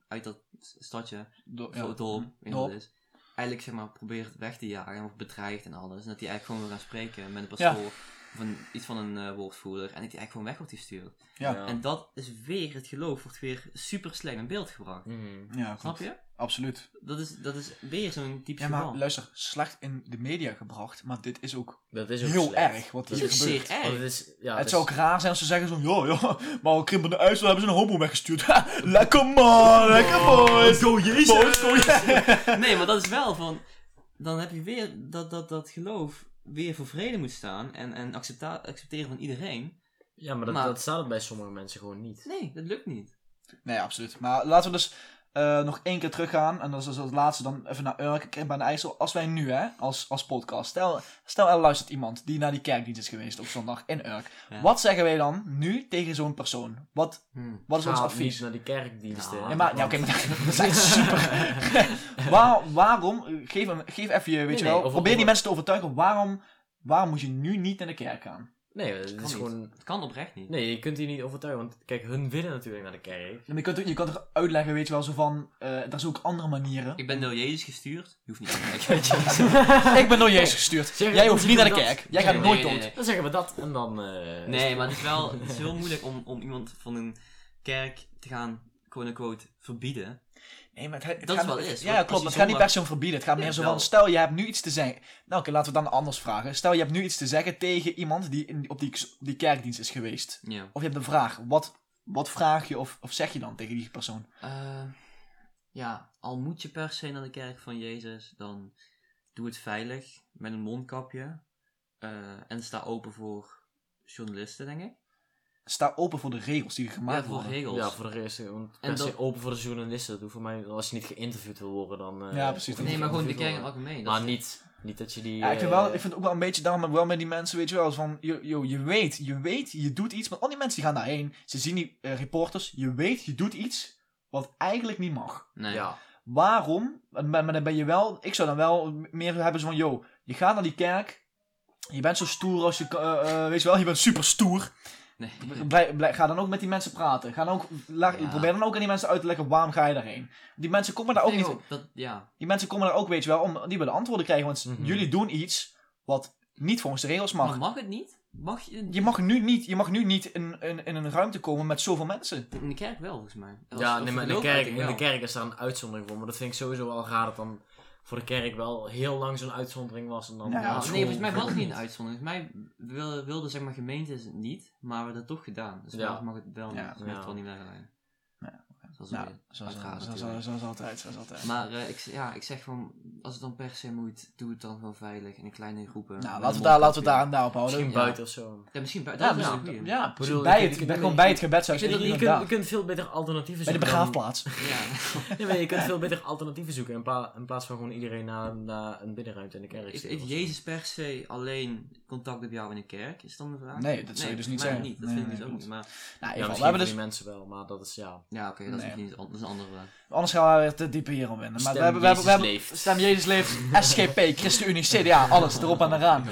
uit dat stadje,
Door- ja. Hm, Mhm.
ja. dorp, weet je
Dorp.
wat het is. Eigenlijk zeg maar probeert weg te jagen en wordt bedreigd en alles. En dat hij eigenlijk gewoon wil gaan spreken met een pastoor of een, iets van een eh, woordvoerder. En dat hij eigenlijk gewoon weg wordt gestuurd.
Ja.
En dat is weer, het geloof wordt weer super slecht in beeld gebracht.
Mhm.
Ja, goed.
Snap je?
Absoluut.
Dat is, dat is weer zo'n typisch
Ja, maar
geval.
luister, slecht in de media gebracht, maar dit is ook
Dat is ook
heel
slecht.
erg wat
Dat
hier
is ook
gebeurt.
zeer erg.
Want het is, ja,
het
het
zou
is-
ook raar zijn als ze zeggen zo, ja, ja, maar Krimp aan de IJssel hebben ze een homo weggestuurd. (laughs) lekker man, lekker boys. Go Jezus.
Nee, maar dat is wel van. Dan heb je weer dat, dat, dat geloof weer voor vrede moet staan en, en accepta- accepteren van iedereen.
ja, maar dat,
maar-
dat staat bij sommige mensen gewoon niet.
Nee, dat lukt niet.
Nee, absoluut. Maar laten we dus eh, nog één keer teruggaan. En dat is dus het laatste dan even naar Urk, Krimp aan de IJssel. Als wij nu, hè, als, als podcast. Stel, stel er luistert iemand die naar die kerkdienst is geweest op zondag in Urk.
Ja.
Wat zeggen wij dan nu tegen zo'n persoon? Wat, wat is ons
Ga
advies?
niet naar die kerkdiensten.
Ja,
Ja, maar, ja, (laughs) oké, maar dat is echt super. (laughs) Waar- waarom, geef, hem, geef even je, weet
Nee,
je
nee,
wel,
of-
probeer
of-
die mensen te overtuigen, waarom, waarom moet je nu niet naar de kerk gaan?
Nee, het is
niet.
gewoon...
Het kan oprecht niet.
Nee, je kunt die niet overtuigen. Want kijk, hun willen natuurlijk naar de kerk.
Je kunt, er- je kunt er uitleggen, weet je wel, zo van, eh er zijn ook andere manieren.
Ik ben door Jezus gestuurd. Je hoeft niet naar de
(laughs)
kerk, weet je.
Ik ben door Jezus gestuurd.
Zeg,
Jij hoeft
hoeft
niet naar de
dat-
kerk. Jij
Nee,
gaat
nee,
nooit
nee,
dood.
nee.
Dan zeggen we dat en dan... eh,
Nee, maar het is wel het
(laughs)
is heel moeilijk om, om iemand van een kerk te gaan, quote-unquote, verbieden.
Nee, maar het, het
Dat
gaat
is wel
niet-
eens,
Ja,
hoor.
ja, klopt.
Als
Het
je
gaat niet
zondag-
per se om verbieden. Het gaat
Ja,
meer zo
wel.
van, stel je hebt nu iets te zeggen. Nou oké, laten we dan anders vragen. Stel je hebt nu iets te zeggen tegen iemand die in, op die, die kerkdienst is geweest.
Ja.
Of je hebt een vraag. Wat, wat vraag je of, of zeg je dan tegen die persoon?
Eh, ja, al moet je per se naar de kerk van Jezus, dan doe het veilig met een mondkapje. eh, en sta open voor journalisten, denk ik.
sta open voor de regels die er
Maar
gemaakt
voor
worden.
regels.
Ja, voor de rest. eh, Want
En
en
dat-
open voor de journalisten. Dat hoeft voor mij... Als je niet geïnterviewd wil worden, dan... eh,
Ja, precies.
hoef je
Nee, maar gewoon de
geïnterviewd
kerk in
te
het
worden.
algemeen. dat
Maar
is-
niet, niet dat je die...
Ja, ik vind,
eh,
wel, ik vind het ook wel een beetje daarom wel met die mensen, weet je wel, van, yo, yo, je weet, je weet, je doet iets, want al die mensen die gaan daarheen, ze zien die eh, reporters, je weet, je doet iets wat eigenlijk niet mag.
Nee.
Ja,
Waarom? En- Maar, maar dan ben je wel, ik zou dan wel meer hebben zo van, yo, je gaat naar die kerk, je bent zo stoer als je, kan- eh, eh, weet je wel, je bent super stoer.
Nee. (laughs)
Blij- blij- ga dan ook met die mensen praten, ga dan ook, la-
Ja.
probeer dan ook aan die mensen uit te leggen waarom ga je daarheen. Die mensen komen daar ook
Nee,
niet,
joh, Dat, ja.
Die mensen komen daar ook, weet je wel, om, die willen antwoorden krijgen. Want
Mhm.
jullie doen iets wat niet volgens de regels
Mag. Maar
mag.
mag het niet? Mag je...
Je mag nu niet, je mag nu niet in, in, in een ruimte komen met zoveel mensen.
In de kerk wel, volgens mij. Als-
ja
als
nee, maar in de,
geloofuiting
kerk, in de
wel.
kerk is daar een uitzondering voor. Maar dat vind ik sowieso wel raar dat dan voor de kerk wel heel lang zo'n uitzondering was. En dan
Nou,
ja,
nee,
Ja,
school-
nee, volgens mij was het niet een uitzondering. Volgens mij wilden wilde, zeg maar, gemeentes het niet, maar we hebben dat toch gedaan. Dus
Ja.
ja. mag het wel,
Ja.
ja. mag
Ja.
het wel niet meer zijn.
Ja.
Zoals
Nou,
weer.
zoals,
Uiteraard
zoals,
natuurlijk.
zoals, zoals altijd, zoals altijd.
Maar eh, ik, z- ja, ik zeg gewoon, als het dan per se moet, doe het dan gewoon veilig in kleine groepen. Met
nou,
een
laten we, daar, laten we
mondkapje.
daar en daarop houden.
Misschien
Ja.
buiten of zo.
Ja, misschien bij,
Ja,
dat is
misschien-
een goeie.
ja,
Ik bedoel,
bij
je
het,
kunt-
bij-
je kunt-
gewoon bij het gebed zou
Ik vind dat- je, kunt,
inderdaad.
je kunt veel beter alternatieven
Bij de
zoeken. dan-
begraafplaats. (laughs)
Ja.
Ja, maar je kunt veel beter alternatieven zoeken in, pla- in plaats van gewoon iedereen naar, naar een binnenruimte in de kerk
Is,
sturen
heeft
of zo.
Jezus per se alleen contact met jou in de kerk? Is dan de vraag?
Nee, dat zou je dus niet
volgens
zeggen.
mij Niet. Dat
Nee,
vind ik
nee,
dus ook
klopt.
niet. Maar,
Nou, in ieder
Ja,
geval, we
misschien voor
hebben
die
dus,
mensen wel, maar dat is ja.
ja, oké, dat, is
Nee.
misschien iets an- dat is een andere
(laughs)
vraag.
dus- anders gaan we weer te diep hierom in. Maar
Stem
we hebben, we hebben, we hebben,
Jezus leeft.
Stem
(laughs)
Jezus leeft, SGP, ChristenUnie, CDA, alles erop en
(laughs)
eraan.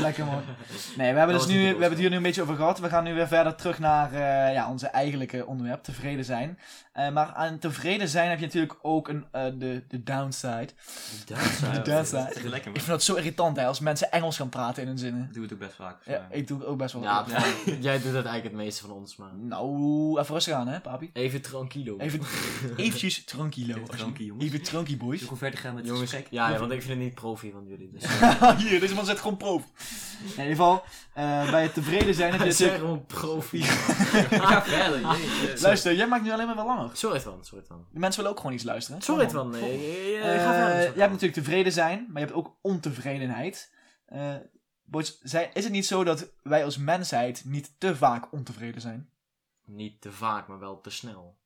Lekker man. Nee, we hebben,
Dat
dus nu,
was niet
we
de
hebben het hier nu een beetje over gehad. We gaan nu weer verder terug naar eh, ja, onze eigenlijke onderwerp, tevreden zijn. Eh, maar aan tevreden zijn heb je natuurlijk ook een, eh, de, de downside.
De
downside.
Dat is lekker,
Ik
man.
vind dat zo irritant hè, als mensen Engels gaan praten in hun zinnen.
Doe het ook best vaak. eh,
Ja,
(laughs)
ik doe het ook best wel.
Ja, jij doet dat eigenlijk het meeste van ons, maar...
Nou, even rustig aan hè, papi.
Even tranquilo.
(laughs) Even, eventjes tranquilo.
Even tranqui, jongens.
Even tranqui, boys.
Zo verder gaan met
Jongens,
het gesprek.
ja, ja, want ik vind het niet profi van jullie.
(laughs)
Dus.
Ah, Hier, deze man zit gewoon proef. In ieder geval, eh, bij het tevreden zijn heb je (laughs)
Het is echt
natuurlijk...
gewoon profi. (laughs)
Ga verder. jezus.
Luister, jij maakt nu alleen maar wel langer.
Sorry Twan, sorry Twan.
De mensen willen ook gewoon iets luisteren. hè?
Sorry Twan, nee, eh, eh, ga
Eh,
verder.
je
sorry,
hebt
Twan.
natuurlijk tevreden zijn, maar je hebt ook ontevredenheid. Eh boys, zijn, is het niet zo dat wij als mensheid niet te vaak ontevreden zijn?
Niet te vaak, maar wel te snel.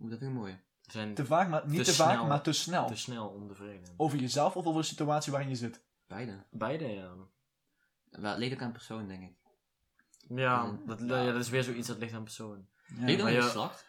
Oeh, dat vind ik mooi.
We zijn
Te vaak, maar niet te,
Te
vaak,
snel.
maar te snel.
te snel ontevreden.
Over jezelf of over de situatie waarin je zit?
Beide.
Beide, ja.
Wel, het ligt ook aan de persoon, denk ik.
Ja, dat, ja, dat is weer zoiets dat ligt aan persoon.
Ja.
Ligt ook
maar
aan je
ja.
geslacht.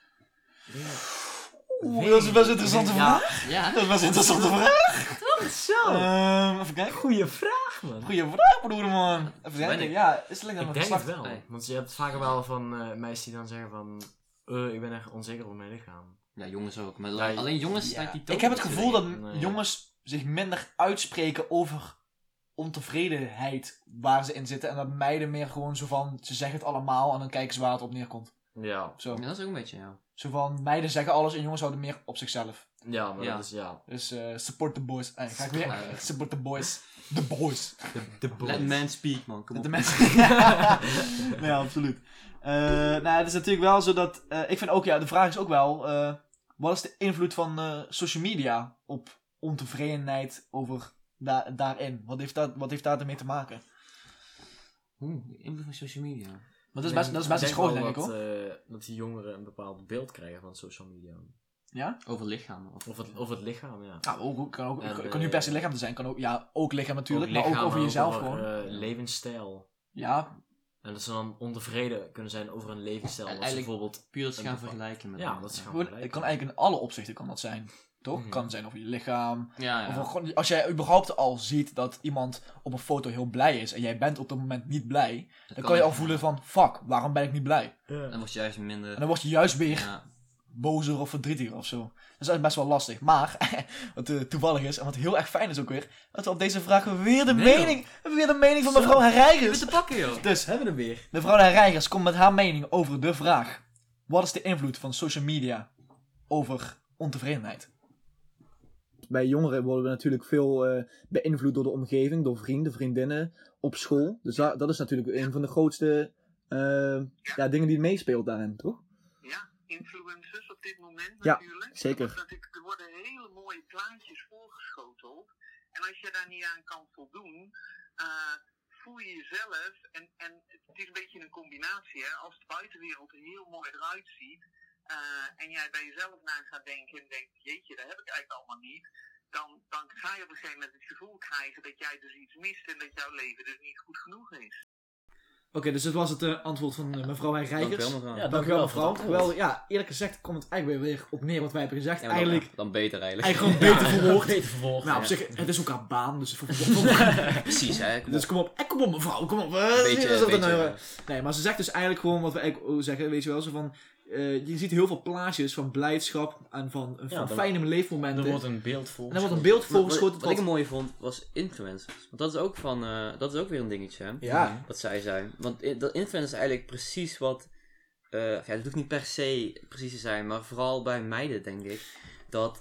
Oeh, dat is een best interessante
Ja.
vraag.
Ja.
Dat is een best interessante vraag.
Zo!
Ehm, even kijken.
Goeie vraag! vraag, man.
Goeie vraag, broer, man. Even
Ben
denken,
ik-
ja, is het alleen
Ik
dan
denk
geslacht?
het wel.
Nee.
Want je hebt vaker wel van eh, meisjes die dan zeggen van... eh, ik ben echt onzeker over mijn lichaam.
Ja, jongens ook. Maar
Ja,
alleen jongens
Ja.
lijkt die toon
Ik heb het
niet te
gevoel dat
Nee, ja.
jongens zich minder uitspreken over ontevredenheid waar ze in zitten. En dat meiden meer gewoon zo van, ze zeggen het allemaal en dan kijken ze waar het op neerkomt.
Ja.
Zo,
liggen. Ja, dat is ook een beetje, ja.
zo van, meiden zeggen alles en jongens houden meer op zichzelf.
Ja, maar
Ja.
dat is... Ja.
Dus eh, support the boys. Eh, ga ik weer,
Ja.
(laughs) support the boys. The boys.
De, de boys.
Let man speak, man. Kom
Dat
op.
de
(laughs)
mensen... (laughs) nee, absoluut. Eh, nou, het is natuurlijk wel zo dat... eh, ik vind ook, ja, de vraag is ook wel... eh, wat is de invloed van eh, social media op ontevredenheid over da- daarin? Wat heeft, dat, wat heeft daar ermee te maken?
Oeh, de invloed van social media.
Want dat is best, dat is best iets groots, denk ik,
wel
hoor.
Dat, eh, dat die jongeren een bepaald beeld krijgen van social media.
Over lichaam. Of,
Of het, of het lichaam, ja.
Nou, ook, ook- kan, ook,
En,
kan nu
eh,
per se lichaam te zijn. Kan ook, ja, ook lichaam natuurlijk,
Over
maar
lichaam,
ook over
maar
jezelf
over,
gewoon.
eh, levensstijl.
ja,
En dat ze dan ontevreden kunnen zijn over hun
E-
levensstijl. Als ze
Eigenlijk-
bijvoorbeeld...
puur dat ze
Een
gaan
bepa-
vergelijken met
Ja,
elkaar.
dat is gewoon
gewoon, het kan eigenlijk in alle opzichten kan dat zijn. Toch?
Mhm.
Kan het zijn over je lichaam.
Ja, ja.
Of gewoon, als jij überhaupt al ziet dat iemand op een foto heel blij is en jij bent op dat moment niet blij,
Dat
Dan kan je
echt.
al voelen van, fuck, waarom ben ik niet blij?
Dan word je juist minder...
En dan word je juist weer
Ja,
bozer of verdrietiger of zo. Dus dat is best wel lastig. Maar, (laughs) wat eh, toevallig is, en wat heel erg fijn is ook weer, dat we op deze vraag weer de
Nee,
mening, weer de mening van
Zo.
mevrouw
Even
Herreigers.
te pakken, joh.
Dus,
Hebben we hem weer.
mevrouw Herreigers komt met haar mening over de vraag. Wat is de invloed van social media over ontevredenheid? Bij jongeren worden we natuurlijk veel eh, beïnvloed door de omgeving, door vrienden, vriendinnen, op school. Dus dat is natuurlijk een van de grootste eh, ja, dingen die meespeelt daarin, toch?
Ja, influencers op dit moment
Ja,
natuurlijk.
zeker.
Er wordt natuurlijk- Er worden hele mooie plaatjes voorgeschoteld. En als je daar niet aan kan voldoen, eh, voel je jezelf. En, en het is een beetje een combinatie, hè. Als de buitenwereld er heel mooi eruit ziet. eh, en jij bij jezelf na gaat denken en denkt, jeetje, dat heb ik eigenlijk allemaal niet. Dan, dan ga je op een gegeven moment het gevoel krijgen dat jij dus iets mist en dat jouw leven dus niet goed genoeg is.
Oké, dus dat was het eh, antwoord van eh, mevrouw
Dank
Rijkers.
je wel, mevrouw.
Ja,
Dankjewel
Dank u wel
mevrouw.
voor het
Wel, ja, eerlijk gezegd komt het eigenlijk weer, weer op neer wat wij hebben gezegd.
Ja, maar dan-
eigenlijk,
Dan beter, eigenlijk.
eigenlijk gewoon beter verwoord.
Beter vervolgd.
Nou, op
ja.
zich, het is ook haar baan, dus...
(laughs)
voor- voor- voor-
Precies, hè. Kom op.
dus kom op, eh, kom op mevrouw, kom op. eh,
Een
niet
beetje,
alsof dat
beetje,
nou, eh,
eh,
Nee, maar ze zegt dus eigenlijk gewoon wat we eigenlijk ook zeggen, weet je wel, zo van... eh, je ziet heel veel plaatjes van blijdschap en van, van
dan-
fijne leefmomenten.
Er wordt een beeld
en
volgens.
dan wordt een beeld
Wat,
voorgeschoten.
wat ik een mooie vond, was influencers. Want dat is ook, van, eh, dat is ook weer een dingetje, hè.
Ja,
Wat zij zei. Want i- dat influencer is eigenlijk precies wat... eh, ja, het hoeft niet per se precies te zijn, maar vooral bij meiden, denk ik. Dat,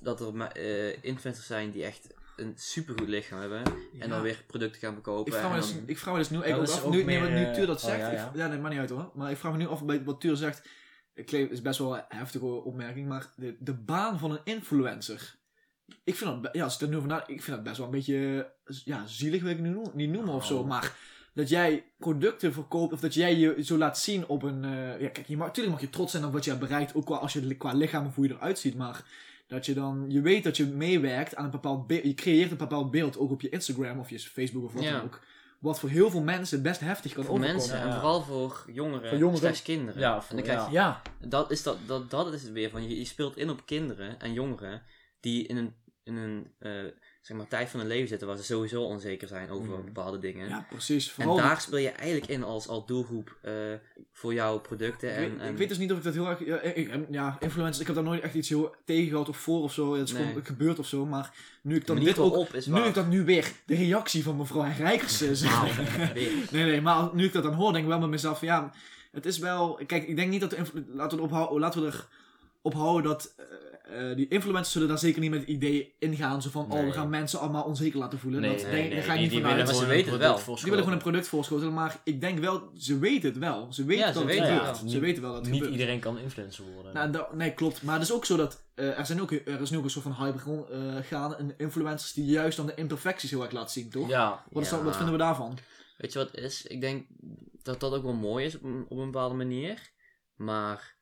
dat er me- eh, influencers zijn die echt een supergoed lichaam hebben. En dan
Ja.
weer producten gaan verkopen.
Ik vraag, me
en
dus,
dan-
ik vraag me dus nu
dat
eigenlijk
is
af,
ook
nu, nee, maar
meer,
nu Tuur dat
eh, oh,
zegt,
ja,
ik- ja,
ja.
nee, maakt niet uit hoor, maar ik vraag me nu af bij wat Tuur zegt, ik claim, is best wel een heftige opmerking, maar de, de baan van een influencer, ik vind dat, be- ja, als ik er nu over na- ik vind dat best wel een beetje, eh, ja, zielig wil ik het nu noemen- niet noemen of zo,
Oh.
maar dat jij producten verkoopt of dat jij je zo laat zien op een, eh, ja kijk, je mag, natuurlijk mag je trots zijn op wat je hebt bereikt, ook qua, als je, li- qua lichaam of hoe je eruit ziet, maar... Dat je dan, je weet dat je meewerkt aan een bepaald beeld. Je creëert een bepaald beeld, ook op je Instagram of je Facebook of wat
Ja.
dan ook wat voor heel veel mensen best heftig kan
voor
overkomen.
mensen, en
ja.
vooral voor jongeren,
Voor jongeren.
slash kinderen.
Ja,
en
voor-
dan krijg
ja.
je
Ja,
Dat is, dat, dat, dat is het weer van, je, je speelt in op kinderen en jongeren die in een, in een eh, zeg maar, tijd van hun leven zitten waar ze sowieso onzeker zijn over
Mm.
Mhm.
bepaalde dingen.
ja precies.
en
Vooral
daar speel je eigenlijk in als, als doelgroep eh, voor jouw producten.
ik,
en,
weet,
en-
ik weet dus niet of ik dat heel erg... Ja, ik, eh, ja, influencers, ik heb daar nooit echt iets heel tegen gehad of voor of zo. Het is
Nee.
gewoon gebeurd of zo, maar nu ik
de
dan
manier
dit ook...
waarop is
Nu
waar.
ik dat nu weer, de reactie van mevrouw Rijkers eh, zeg.
(laughs) Nou, Weer.
Nee, nee, maar nu ik dat dan hoor, denk ik wel met mezelf van ja, het is wel... Kijk, ik denk niet dat... de influ- Laten we, ophou- laten we er ophouden dat... eh, eh, die influencers zullen daar zeker niet met het idee ingaan. Zo van, oh,
Nee.
we gaan mensen allemaal onzeker laten voelen.
Nee,
dat
nee,
denk,
nee,
daar ga je
die-
niet
die
van
willen
uit.
Maar ze
gewoon een
weten het wel.
product
Die willen gewoon een product voorschotelen, maar ik denk wel, ze weten het wel. Ze weten
Ja, ze
dat
weten
het
het
gebeurt.
wel.
Ze weten wel dat het
Niet
gebeurt.
iedereen kan influencer worden.
Nou, en da- nee, klopt. Maar het is ook zo dat eh, er, zijn ook, er is nu ook een soort van hype begon- eh, gaan en influencers die juist dan de imperfecties heel erg laten zien, toch?
ja.
Wat, is dat-
Ja.
wat vinden we daarvan?
Weet je wat het is? Ik denk dat dat ook wel mooi is op een, op een bepaalde manier. Maar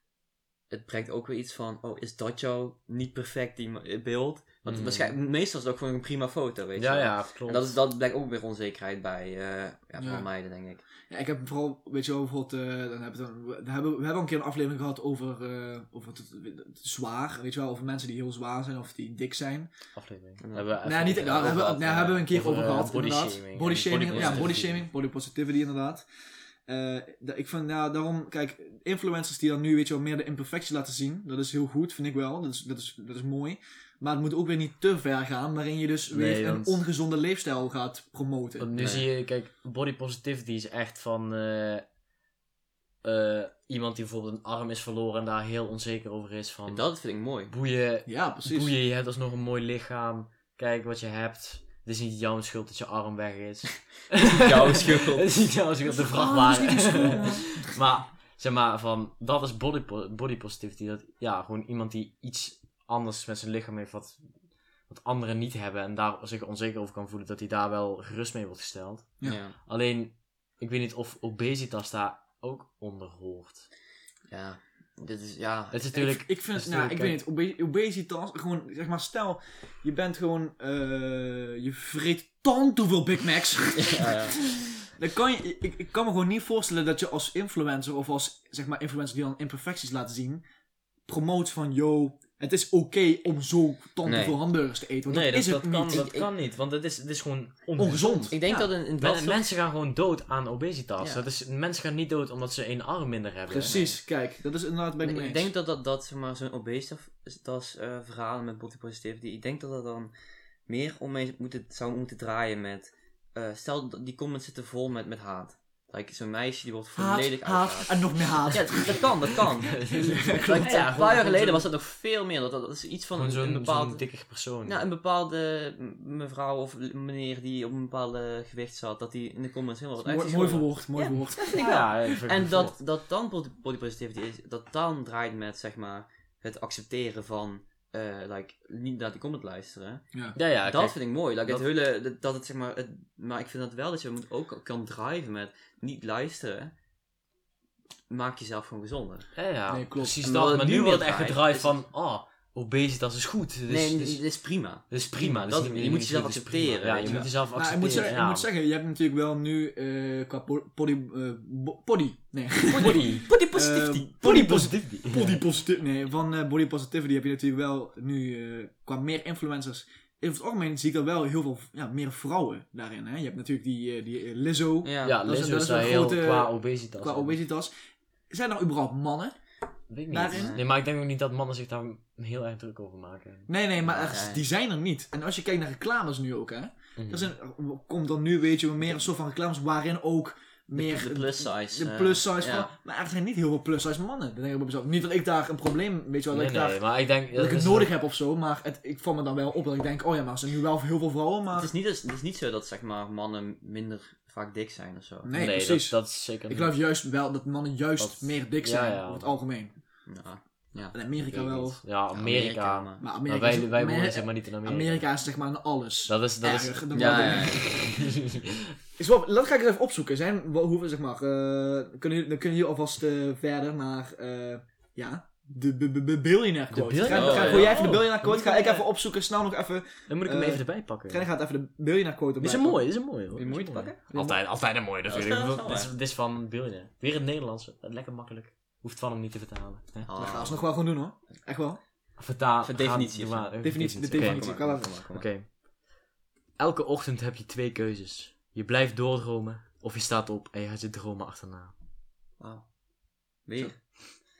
het brengt ook weer iets van, oh, is dat jouw niet perfect die- beeld? Want
Hmm.
Mhm.
waarschijnlijk, meestal is het ook gewoon een prima foto, weet
Ja,
je wel.
ja, klopt.
En dat, is, dat blijkt ook weer onzekerheid bij eh ja, vooral
Ja.
meiden, denk ik.
Ja, ik heb vooral, weet je wel, bijvoorbeeld, eh, dan heb ik dan, we, hebben, we hebben een keer een aflevering gehad over, eh, over het, het zwaar, weet je wel, over mensen die heel zwaar zijn of die dik zijn.
Aflevering.
Ja.
Hebben we even
nou, niet,
over
daar hebben, we-
gehad,
nou,
eh,
hebben we een keer over,
eh,
gehad,
body
inderdaad.
shaming en
body shaming,
body
ja, body
positivity.
shaming, body positivity, inderdaad. Eh, da- ik vind, ja, daarom, kijk, influencers die dan nu, weet je wel, meer de imperfectie laten zien, dat is heel goed, vind ik wel, dat is, dat is, dat is mooi. Maar het moet ook weer niet te ver gaan, waarin je dus weer
Nee,
een
want-
ongezonde leefstijl gaat promoten.
Want nu
Nee.
zie je, kijk, body positivity is echt van eh, eh, iemand die bijvoorbeeld een arm is verloren en daar heel onzeker over is.
En
Van
dat vind ik mooi.
boeien,
ja, precies.
boeien, je hebt alsnog een mooi lichaam. Kijk wat je hebt. Het is niet jouw schuld dat je arm weg (laughs) is.
Jouw schuld.
(laughs) Het is niet jouw schuld, de
Oh, dat is niet
vrachtwagen.
mijn
(laughs) maar zeg maar, van, dat is body, po- body positivity. Dat, ja, gewoon iemand die iets anders met zijn lichaam heeft wat, wat anderen niet hebben. En daar zich onzeker over kan voelen, dat hij daar wel gerust mee wordt gesteld.
Ja.
Ja.
Alleen, ik weet niet of obesitas daar ook onder hoort.
Ja. Dit is, ja.
Het is natuurlijk...
Ik, ik vind het,
dat is
nou, ik weet
natuurlijk-
niet, obe- obesitas, gewoon, zeg maar, stel, je bent gewoon, eh, je vreet tant hoeveel Big Macs.
ja, ja.
Dan kan je, ik, ik kan me gewoon niet voorstellen dat je als influencer, of als, zeg maar, influencer die dan imperfecties laten zien, promoot van, yo, het is oké om zo tant
Nee.
hoeveel hamburgers te eten, want dat is het
kan,
niet.
dat
Ik- ik-
kan niet, want het is, het is gewoon
Ongezond.
Ik denk
Ja.
dat in, in dat
Men-
soort-
mensen gaan gewoon dood aan obesitas.
Ja.
Dat is, mensen gaan niet dood omdat ze één arm minder hebben.
Precies, kijk, dat is inderdaad bij
Maar
de
ik denk dat dat, dat zeg maar, zo'n obesitas eh verhalen met body positivity, ik denk dat dat dan meer omheen moeten, zou moeten draaien met, eh, stel dat die comments zitten vol met, met haat. Like, zo'n meisje die wordt
haat,
volledig
haat, en nog meer haat.
Ja, dat, dat kan, dat
(laughs)
kan.
klopt.
ja, een
Gewoon-
paar jaar
gewoon
geleden
zo'n-
was dat nog veel meer. Dat, dat is iets van
Gewoon
een,
zo'n
een bepaald...
zo'n dikke persoon.
Nou, een bepaalde m- mevrouw of l- meneer die op een bepaald gewicht zat, dat die in de comments heel wat
Mooi, mooi verwoord, mooi verwoord.
ja, ja, even
En dat,
gevolgd.
dat dan body body positivity is, dat dan draait met zeg maar het accepteren van, eh, like, niet naar die comment luisteren.
Ja, ja,
dat
kijk,
vind ik mooi. Like,
dat-
Het hele, dat- dat het zeg maar, het, maar ik vind dat wel dat je moet ook kan drijven met niet luisteren. Maak jezelf gewoon gezonder.
ja, ja,
Nee, klopt.
precies
En
dat.
wat
Maar
het
nu
nu
wordt
weer
echt
draait,
gedraaid
is-
van, oh, obesitas is goed. Dus,
nee,
dus-
dit is prima.
Dat is prima. Dat is
Dat-
niet-
je
niet
moet
goed,
jezelf
dat is
accepteren,
prima. Ja,
weet
je nou?
je
moet jezelf
Maar ik moet,
accepteren.
zeggen, ik moet zeggen, je hebt natuurlijk wel nu eh, qua po- body, eh, bo- body, nee,
Body.
Body
positivity.
Body
Eh, Body
positivity.
(laughs) body positivity, nee, van eh, body positivity heb je natuurlijk wel nu eh, qua meer influencers. In het algemeen zie ik er wel heel veel ja, meer vrouwen daarin. Hè? Je hebt natuurlijk die, eh, die eh, Lizzo
ja.
Ja,
dat is-
Lizzo
dat
is
is
daar
een
heel
grote-
qua obesitas.
qua obesitas. Zijn er überhaupt mannen?
Weet ik niet.
daarin?
Nee, maar ik denk ook niet dat mannen zich daar heel erg druk over maken.
Nee, nee, maar er-
Nee.
die zijn er niet. En als je kijkt naar reclames nu ook, hè.
Mhm.
Er, zijn, er komt dan nu, weet je, meer een soort van reclames waarin ook meer...
de plus size.
De
eh,
plus size
ja.
vrouw- Maar er zijn niet heel veel plus size mannen. Dan denk ik bij mezelf. Niet dat ik daar een probleem, weet je wel, dat
Nee,
ik daar
nee, maar ik denk...
dat ik het
is-
nodig heb of zo, maar het, ik val me dan wel op dat ik denk, oh ja, maar er zijn nu wel heel veel vrouwen, maar...
Het is, niet, het is niet zo dat zeg maar, mannen minder vaak dik zijn of zo.
Nee,
Nee,
precies.
Dat, dat is zeker
Ik
niet.
geloof juist wel dat mannen juist
Dat-
meer dik
ja,
zijn,
ja.
over het algemeen.
Ja.
In
Ik
Amerika
weet
wel.
niet. Ja, Amerika. Maar
maar-
Maar Amerika,
wij,
is,
wij
Amer-
wonen zeg maar niet in Amerika.
Amerika is zeg maar een alles.
Dat is... Dat is...
Erger
(laughs)
dan
Ja,
wat-
ja, ja.
Is wel- dat ga ik er even opzoeken. Zijn, wel- hoeveel, zeg maar, eh, kunnen, jullie- dan kunnen jullie alvast eh, verder naar, eh, ja, de b- b- b- billionaire
De
quote.
billionaire-
Ga, ga,
oh,
gooi
ja.
jij even de billionaire
Oh,
quote,
dan
ga
moet
ik
ik, eh,
even opzoeken, snel nog even.
Dan moet ik hem
Eh,
even erbij pakken.
Trainer gaat even de billionaire quote
Dit is een
erbij
mooie, dit is een mooie hoor.
Wil je moeite pakken?
Altijd, altijd een mooie
dat is
natuurlijk. (laughs)
wel- dat is wel
dit, is,
waar.
dit is van Billionaire. Weer in het Nederlands. Lekker makkelijk. Hoeft van hem niet te vertalen. hè?
Ah,
pakken. Dat gaan ze nog wel gewoon doen hoor. Echt wel.
Vertaal.
Voor definitie
gaat-
of zo.
maar-
Definitie, de
oké.
definitie. Kom maar, kom
Oké. Elke ochtend heb je twee keuzes. Je blijft doordromen, of je staat op en je gaat je dromen achterna.
Wauw. Weer.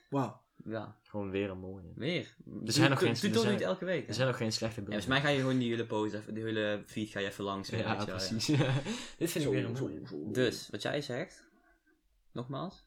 Wauw.
Ja,
Gewoon weer een mooie.
weer.
Er zijn nog geen-
Doe
er
toch
zijn-
niet elke week. hè?
Er zijn nog geen slechte
Ja,
beelden.
volgens mij ga je gewoon die hele pose, even- die hele feed ga je even langs. weet
Ja,
je wel,
precies. (laughs) Dit vind ik weer een mooie.
Dus, wat jij zegt, nogmaals,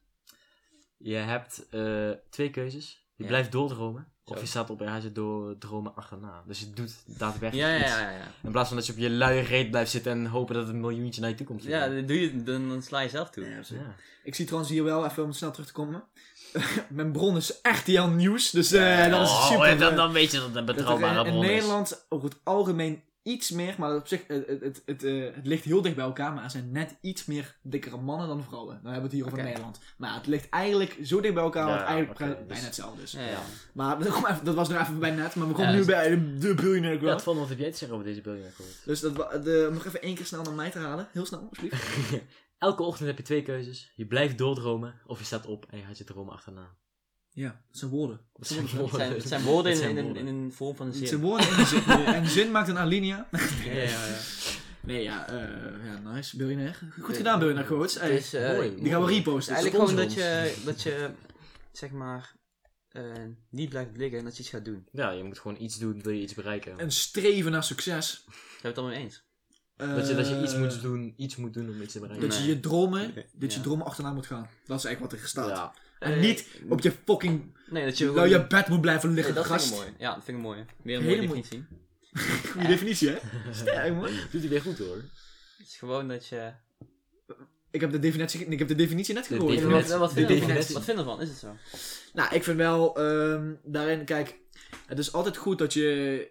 Je hebt eh, twee keuzes. Je
Ja.
blijft doordromen, of
Zo.
je staat op en je gaat je door- dromen achterna. Dus je doet daadwerkelijk
Ja, ja,
iets.
ja, ja.
In plaats van dat je op je luie reet blijft zitten en hopen dat het een miljoentje naar je toe komt.
Ja, dan doe je, dan, dan sla je zelf toe.
Ja.
Ik zie trouwens hier wel, even om snel terug te komen. (laughs) Mijn bron is RTL Nieuws, dus eh, dat is
Oh,
super.
dan, dan weet je dat het een
dat er
betrouwbare
in, in
bron is.
Nederland over het algemeen iets meer, maar op zich, het, het, het, het, eh, het ligt heel dicht bij elkaar, maar er zijn net iets meer dikkere mannen dan vrouwen. Dan hebben we het hier over
Oké.
Nederland. Maar het ligt eigenlijk zo dicht bij elkaar, dat
Ja,
het eigenlijk
oké,
bijna
dus-
hetzelfde is.
Ja, ja.
Maar dat- kom even- dat was nog even bij net, maar we komen
Ja,
nu
dus-
bij de, de Billionaire
Ja, het
Graph.
vond wat heb jij te zeggen over deze billionaire quote?
Dus dat, wa- de, om nog even één keer snel naar mij te halen. Heel snel,
(laughs)
alsjeblieft.
Elke ochtend heb je twee keuzes. Je blijft doordromen of je staat op en je gaat je dromen achterna.
Ja, het zijn woorden.
Dat zijn
Het zijn, het zijn
Het
woorden in,
zijn
in, een-
woorden.
in een vorm van een
Het zijn
zin.
woorden en een zin. En een zin maakt een alinea.
Ja, ja, ja.
Nee, ja, eh, ja nice. Billionaire. Goed
Ja.
gedaan, Billionaire Coach. Hey,
Dus, eh,
mooi.
die gaan we reposten.
eigenlijk
sponsor
gewoon dat
ons.
je, dat je, zeg maar, eh, niet blijft liggen en dat je iets gaat doen.
Ja, je moet gewoon iets doen, wil je iets bereiken.
Een streven naar succes.
Zijn we het allemaal mee eens?
Dat je, dat je iets,
Eh,
moet doen, iets moet doen om iets te bereiken.
Dat je
Nee.
je dromen, dat je
Ja.
dromen achterna moet gaan. Dat is eigenlijk wat er staat.
Ja.
En
Eh,
niet op je fucking,
Nee, dat je
nou je bed moet blijven liggen,
Nee, dat vind
gast.
ik mooi. Ja, dat vind ik mooi. Weer een
Hele
mooie
mooi.
definitie.
Goeie definitie, hè?
(laughs)
Sterk, man.
Doet hij weer goed hoor.
Het is gewoon dat je...
Ik heb de definitie, ik heb de definitie net gehoord.
definitie.
Wat,
Definitie.
wat,
De
vind je ervan?
definitie.
wat vind je ervan? Is het zo?
Nou, ik vind wel, ehm, daarin, kijk, het is altijd goed dat je,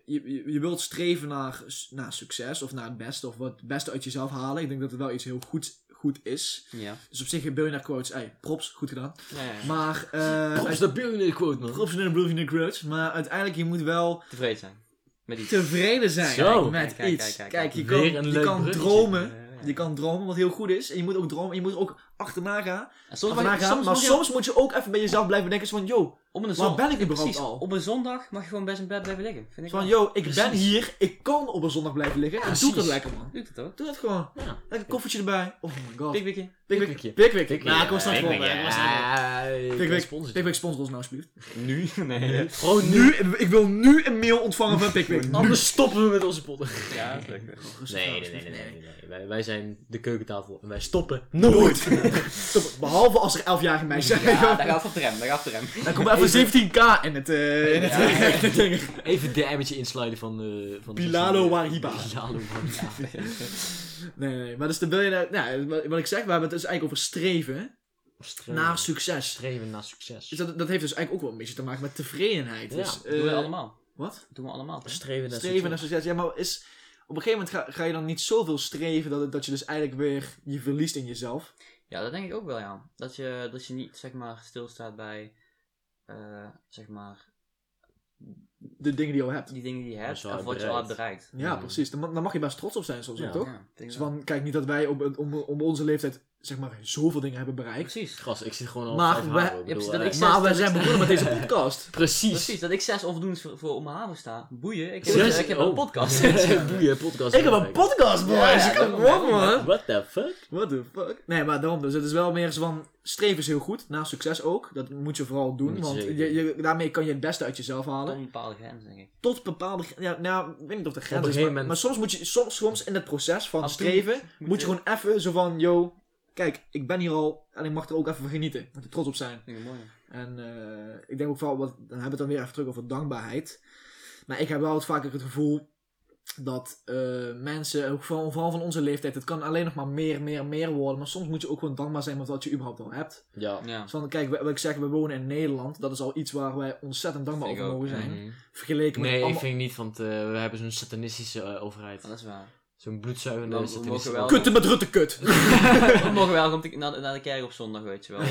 je, je- je wilt streven naar, s- naar succes of naar het beste of wat het beste uit jezelf halen. Ik denk dat het wel iets heel goed, goed is.
Ja.
Dus op zich, billionaire quotes, ey, props, goed gedaan.
Ja, ja.
Maar, eh
Props de billionaire quote man.
props naar de billionaire quotes, maar uiteindelijk, je moet wel
Tevreden zijn. Met iets.
tevreden zijn
Zo.
met
Kijk, kijk,
iets. Kijk,
kijk, kijk.
je
Weer
kan,
een
je
leuk
kan
bruggetje.
dromen.
Ja, ja.
Je kan dromen, wat heel goed is. En je moet ook dromen, en je moet er ook achterna gaan.
En soms mag
achterna
je-
gaan, maar
mag je-
soms moet je ook even bij jezelf blijven denken. zo van, yo,
Op een
waar
zondag,
ben ik überhaupt
precies,
al?
op een zondag mag je gewoon best in bed blijven liggen. Vind ik
Zo Van,
wel.
yo, ik ben
Precies.
hier, ik kan op een zondag blijven liggen. en doe
precies.
dat lekker, man.
Doet het ook.
Doe dat gewoon.
Ja.
Lekker koffertje erbij. Oh my god.
Pikwikje.
Pikwikje.
Pikwikje.
Pikwik. Nou, ik was
Ja,
snel voor.
Pikwik,
hè, ik was snel voor.
ja, ik ben
Pikwik,
sponsor.
Pikwik, sponsor ons nou, alsjeblieft. Oh,
Nu? (laughs) Nee.
Gewoon nu. (laughs)
Nu, ik wil nu een mail ontvangen van Pikwik.
Anders stoppen we met onze potten.
Ja, dat lukt wel.
(laughs) Nee, nee, nee, nee, nee, nee. Wij, wij zijn de keukentafel en wij stoppen
(laughs)
nooit.
Stop, Behalve als er 11-jarige meisjes zijn.
Ja, daar gaat het op de rem, daar gaat het op de rem.
Dan komt even 17k in het, eh in
Ja.
het, (laughs) in het ding.
Even DM'tje insluiten van, eh van de
Bilalo
social media.
Wariba.
Bilalo (laughs) Wariba.
Nee, nee, nee. Maar dus dan wil je nou, nou, wat- wat ik zeg, we hebben het dus eigenlijk over streven
Streven.
naar succes.
Streven naar succes.
Dus dat, dat heeft dus eigenlijk ook wel een beetje te maken met tevredenheid.
Ja,
dus,
Dat doen we
eh,
allemaal.
Wat?
Dat doen we allemaal. toch?
Streven naar
Streven naar
succes.
succes. Ja, maar is, op een gegeven moment ga, ga je dan niet zoveel streven dat, het- dat je dus eigenlijk weer je verliest in jezelf.
Ja, dat denk ik ook wel, ja. Dat je, dat je niet, zeg maar, stilstaat bij, eh, zeg maar,
De dingen die je al hebt.
die dingen die je hebt
Wat je al
of
hebt
wat je al hebt
bereikt.
bereikt.
Ja,
Ja.
precies. Dan, ma- dan mag je best trots op zijn, soms
Ja.
ook, toch?
Ja, ik denk
Dus
wel.
van, kijk, niet dat wij op, om, om onze leeftijd, zeg maar, zoveel dingen hebben bereikt.
Precies.
Gras, ik zit gewoon al
Maar
vijf
we-
haren, ik
je hebt-
bedoel,
dat
eh,
ik-
Maar we
dat
zijn begonnen met deze podcast.
Precies. (laughs)
Precies, dat ik zes onvoldoendes voor, voor op mijn haven sta. Boeien, ik heb,
Zes-
ik heb
oh.
een
(laughs)
(laughs)
podcast. (laughs)
Boeien, podcast.
Ik heb een podcast, boys!
Ja, ja,
Kom
daarom,
op, man!
What the fuck?
What the fuck? Nee, maar daarom dus. Het is wel meer zo van, streven is heel goed. Na succes ook. Dat moet je vooral doen.
Moet je
want
zeker
je, je- daarmee kan je het beste uit jezelf
Tot
halen.
een bepaalde grens, denk ik.
Tot bepaalde... gr- Ja, nou, ik weet niet of de grens
een
is. Maar,
gegeven moment-
maar soms moet je, soms, soms in het proces van
Af en toe
streven,
moet
moet je
je-
gewoon even zo van, yo, kijk, ik ben hier al en ik mag er ook even van genieten. Ik moet er trots op zijn.
Dat vind ik mooi.
En eh, ik denk ook vooral, wat, dan hebben we het dan weer even terug over dankbaarheid. Maar ik heb wel het vaker het gevoel dat eh, mensen, ook vooral, vooral van onze leeftijd, het kan alleen nog maar meer, meer, meer worden. Maar soms moet je ook gewoon dankbaar zijn met wat je überhaupt al hebt.
Ja.
Ja.
Dus van, kijk, wat ik zeg, we wonen in Nederland. Dat is al iets waar wij ontzettend dankbaar
Vind
over
ik ook,
mogen zijn.
Mhm.
Vergeleken met
Nee, ik
allemaal
vind niet, want eh, we hebben zo'n satanistische eh, overheid.
Dat is waar. (laughs)
Zo'n
Dan
bloedzuigende
mogen we
satanistische
wel-
kutten met rutte kut. (laughs)
We mogen wel om te- naar, de- naar de kerk op zondag,
(laughs)
weet je wel.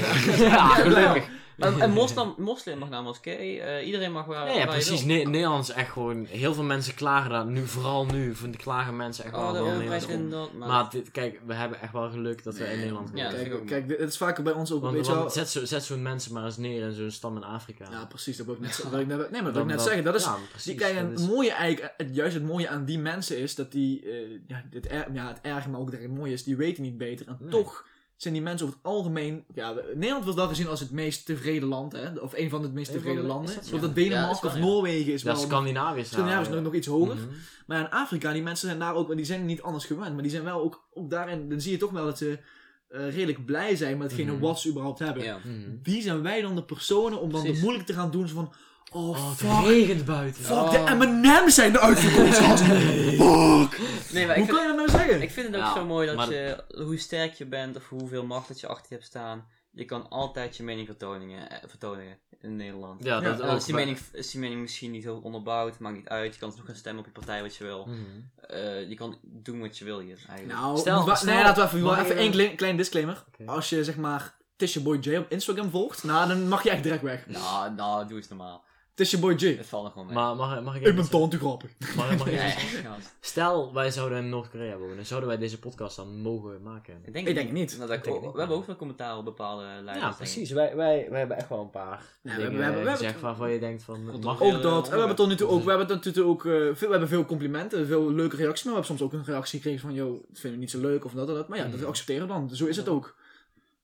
Ja, gelukkig.
Maar, en moslim, moslim mag naar moskee, eh, iedereen mag
Ja,
waar,
ja
waar je
precies.
wil.
Ne- Nederland is echt gewoon... Heel veel mensen klagen daar nu, vooral nu, van die klagen mensen echt
Oh,
wel
de
heel
overheid
Nederlands
vindt
om.
dat, maar...
Maar dit, kijk, we hebben echt wel geluk dat we in Nederland
Ja,
wonen.
dat vind ik ook
kijk,
mooi.
kijk, dit- het is vaker bij ons ook een
want
beetje
want
wel-
zet zo'n zet zo'n mensen maar eens neer in zo'n stam in Afrika.
Ja, precies. Dat wil ik net, dat wil ik net, nee, maar dat wil
Dan-
ik net
dan-
zeggen. Dat is,
ja, precies,
Die, kijk, en
dat
het
is-
mooie eigenlijk, eh, het, juist het mooie aan die mensen is dat die, eh, ja, het, er- ja, het erge, maar ook het mooie is, die weten niet beter. En
Nee.
toch zijn die mensen over het algemeen, ja, we- Nederland wordt wel gezien als het meest tevreden land, hè, of een van de meest
Een van de-
tevreden
is
landen.
dat zo?
Want dat
Ja, is
Denemarken
wel,
of
ja.
Noorwegen is
Ja,
wel,
Scandinavië is
Scandinavië is
nou,
nog, nog iets
ja.
hoger.
Mhm.
Maar in Afrika, die mensen zijn daar ook, die zijn niet anders gewend, maar die zijn wel ook, ook daarin, dan zie je toch wel dat ze eh, redelijk blij zijn met hetgene
Mhm.
wat ze überhaupt hebben.
(laughs)
Ja.
Mhm.
Wie zijn wij dan de personen om dan de
Precies.
moeilijk te gaan doen, zo van, oh,
Oh, het
fuck.
regent buiten.
Fuck,
Oh.
de M&M's zijn eruit
(laughs)
gekomen, schat. Fuck.
Nee,
Hoe
maar ik vind,
kan je dat nou zeggen?
ik vind het ook
Ja,
zo mooi dat
maar-
je, hoe sterk je bent of hoeveel macht dat je achter je hebt staan, je kan altijd je mening vertoningen, eh, vertonen. in Nederland.
Ja, dat
Ja,
Eh,
ook
is, die
wel-
mening, is die mening misschien niet heel onderbouwd, maakt niet uit. Je kan toch gaan stemmen op je partij wat je wil.
Mhm.
Eh, je kan doen wat je wil hier eigenlijk.
Nou,
Stel-
wa-
stel-
nee, laten we even,
mag
wel even
ik-
één klein, klein disclaimer.
Oké.
Als je zeg maar Tisha Boy J op Instagram volgt, nou, dan mag je echt direct weg.
nou, nou, doe eens normaal.
Tisha Boy J.
Het valt nog wel mee.
Maar mag, mag
Ik
ik even
ben
iets-
toon te grappig.
Mag, mag ik (laughs)
Nee,
even-
gast.
Stel, wij zouden in Noord-Korea wonen. Zouden wij deze podcast dan mogen maken?
ik denk,
Ik denk het niet.
Nou, dat-
Ik denk het niet.
we hebben ook veel commentaar op bepaalde leiders.
Ja, precies. Wij, wij, wij hebben echt wel een paar
Ja, we
dingen eh,
hebben- we hebben- we
gezegd
hebben-
waarvan je denkt van...
Ook
Mag
Ook
eh,
dat. En we hebben tot nu toe ook, we
onderwerp.
hebben tot nu toe ook eh, veel, we hebben veel complimenten, veel leuke reacties. Maar we hebben soms ook een reactie gekregen van, yo, dat vinden we niet zo leuk of dat en dat. Maar ja, dat
Mhm.
accepteren we dan. Zo is het ook.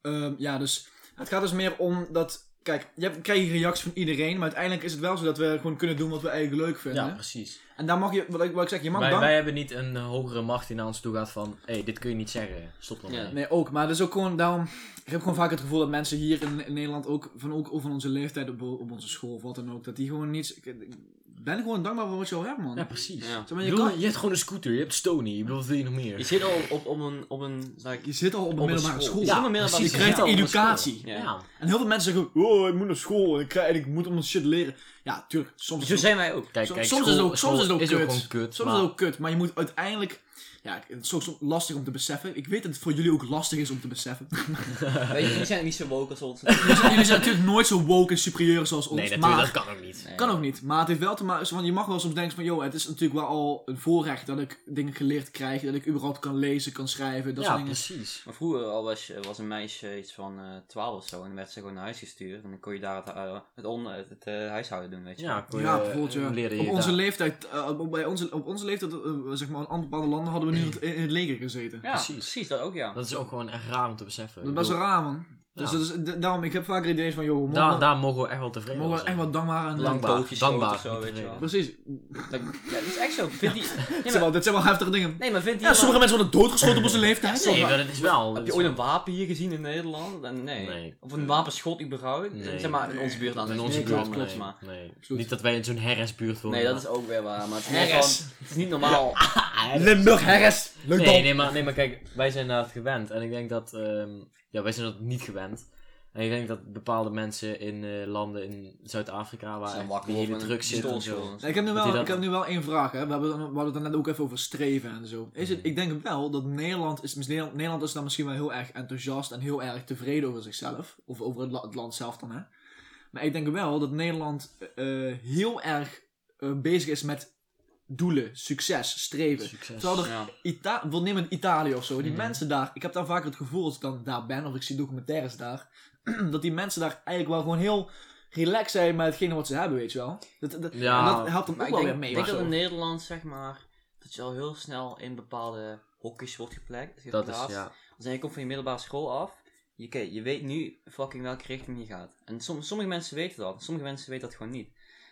Ehm, ja, dus het gaat dus meer om dat... Kijk, je hebt- krijgt reacties van iedereen, maar uiteindelijk is het wel zo dat we gewoon kunnen doen wat we eigenlijk leuk vinden.
Ja, precies.
En daar mag je, wat ik, wat ik zeg, je mag
Wij,
dan...
wij hebben niet een eh, hogere macht die naar ons toe gaat van... Hé, hey, dit kun je niet zeggen. Stop dan.
Ja.
mee."
Nee, ook. Maar dat is ook gewoon daarom. Ik heb gewoon vaak het gevoel dat mensen hier in, in Nederland ook van, ook van onze leeftijd op, op onze school of wat dan ook, dat die gewoon niets. Ik, ik ben gewoon dankbaar voor wat je al hebt, man.
Ja, precies.
Ja.
Zeg maar,
Ik
je,
bedoel,
kan-
je hebt gewoon een scooter, je hebt Stony, ik bedoel, wat wil je nog meer?
Je zit al op, op een, op een zeg ik,
je zit al op een
een
middelbare
school.
school.
Ja,
Je
precies.
Nou, krijgt
je zit al op een
educatie.
Ja.
En heel veel mensen zeggen: Oh, ik moet naar school en ik, krijg, en ik moet om dat shit leren. Ja, tuurlijk. Soms is
Zo
het
zijn wij ook.
Kijk,
Som-
kijk,
soms
school-
is het ook- soms
school
is het ook kut.
gewoon kut.
Soms
maar-
is het ook kut, maar je moet uiteindelijk. Ja, het is ook soms lastig om te beseffen. Ik weet dat het voor jullie ook lastig is om te
(laughs)
beseffen.
Weet je, jullie zijn niet zo woke als ons.
jullie, zijn, jullie zijn natuurlijk nooit zo woke en superieur zoals ons.
Nee, natuurlijk,
maar
dat kan ook niet.
Nee.
Kan ook niet. Maar het heeft wel te maken. Want je mag wel soms denken van, joh, het is natuurlijk wel al een voorrecht dat ik dingen geleerd krijg. Dat ik überhaupt kan lezen, kan schrijven. Dat
ja,
soort dingen.
precies.
Maar vroeger al was, je- was een meisje iets van eh 12 of zo en dan werd ze gewoon naar huis gestuurd en dan kon je daar het, eh, het, on, het, het, eh, huishouden doen, weet je.
Ja, kon
ja,
je-
bijvoorbeeld ja.
leerde eh, je
op, onze
daar-
leeftijd, eh, op, bij onze, op onze leeftijd, eh, zeg maar, in andere bepaalde landen hadden we nu in het, in het leger gezeten.
Ja,
precies.
precies. dat ook ja.
Dat is ook gewoon echt raar om te beseffen.
Dat
Ik
was
bedoel,
raar, man. Dus
Ja.
dat is, d- daarom, ik heb vaker ideeën van, joh, we
daar,
mogen,
daar mogen we echt wel tevreden
mogen we
over zijn.
echt wat dankbaar aan
Lang-
dankbaar,
Tootjes groot
dankbaar.
of zo,
niet
weet je wel.
tevreden.
Precies.
Dat, ja, dat is echt zo. Vind die,
Dit
nee,
zijn
maar,
wel- dit zijn wel heftige dingen.
nee, maar vindt die
Ja, sommige mensen worden doodgeschoten op onze leeftijd.
Nee, maar dat is wel.
Heb je ooit een wapen hier gezien in Nederland? En nee.
Nee.
Of een wapenschot überhaupt?
Nee.
Zeg maar in onze buurt dan.
in
Nee,
onze
Nee,
buurt?
klopt, klopt,
nee.
maar.
nee.
Absoluut.
Niet dat wij in zo'n herresbuurt wonen.
Nee, dat is ook weer waar. Maar het is, meer
Herres.
gewoon- het is niet
(laughs)
normaal.
Limburg, Harris. Leuk
Ah, Nee, nee, maar, nee, maar kijk, wij zijn daar het gewend. En ik denk dat. ehm, ja, wij zijn dat niet gewend. En ik denk dat bepaalde mensen in eh, landen in Zuid-Afrika, waar
Zijn
echt
wakker
die
of
hele
met een
druk zit en
pistoolschool.
zo.
Ja, Ik heb, nu
Dat hij
wel,
dat-
ik heb nu wel één vraag. Hè. We, hebben, we hadden het er net ook even over streven en zo. Is het,
Mhm.
ik denk wel dat Nederland is, Nederland, Nederland is dan misschien wel heel erg enthousiast en heel erg tevreden over zichzelf. Of over het, la- het land zelf dan. Hè. Maar ik denk wel dat Nederland eh, heel erg eh, bezig is met doelen, succes, streven.
Succes.
Terwijl er
Ja.
Ita wil nemen Italië of zo. Die
Mhm.
mensen daar, ik heb dan vaak het gevoel als ik dan daar ben of ik zie documentaires daar, (clears throat) dat die mensen daar eigenlijk wel gewoon heel relaxed zijn met hetgene wat ze hebben, weet je wel. Dat, dat,
Ja,
en dat helpt hem
Maar
ook
ik
wel
denk,
weer mee.
ik denk
of
dat
zo.
in Nederland, zeg maar, dat je al heel snel in bepaalde hokjes wordt geplekt.
Dat is,
geplaatst.
ja.
Dan zeg je, komt van je middelbare school af. Je, oké, je weet nu fucking welke richting je gaat. En som- sommige mensen weten dat, sommige mensen weten dat gewoon niet.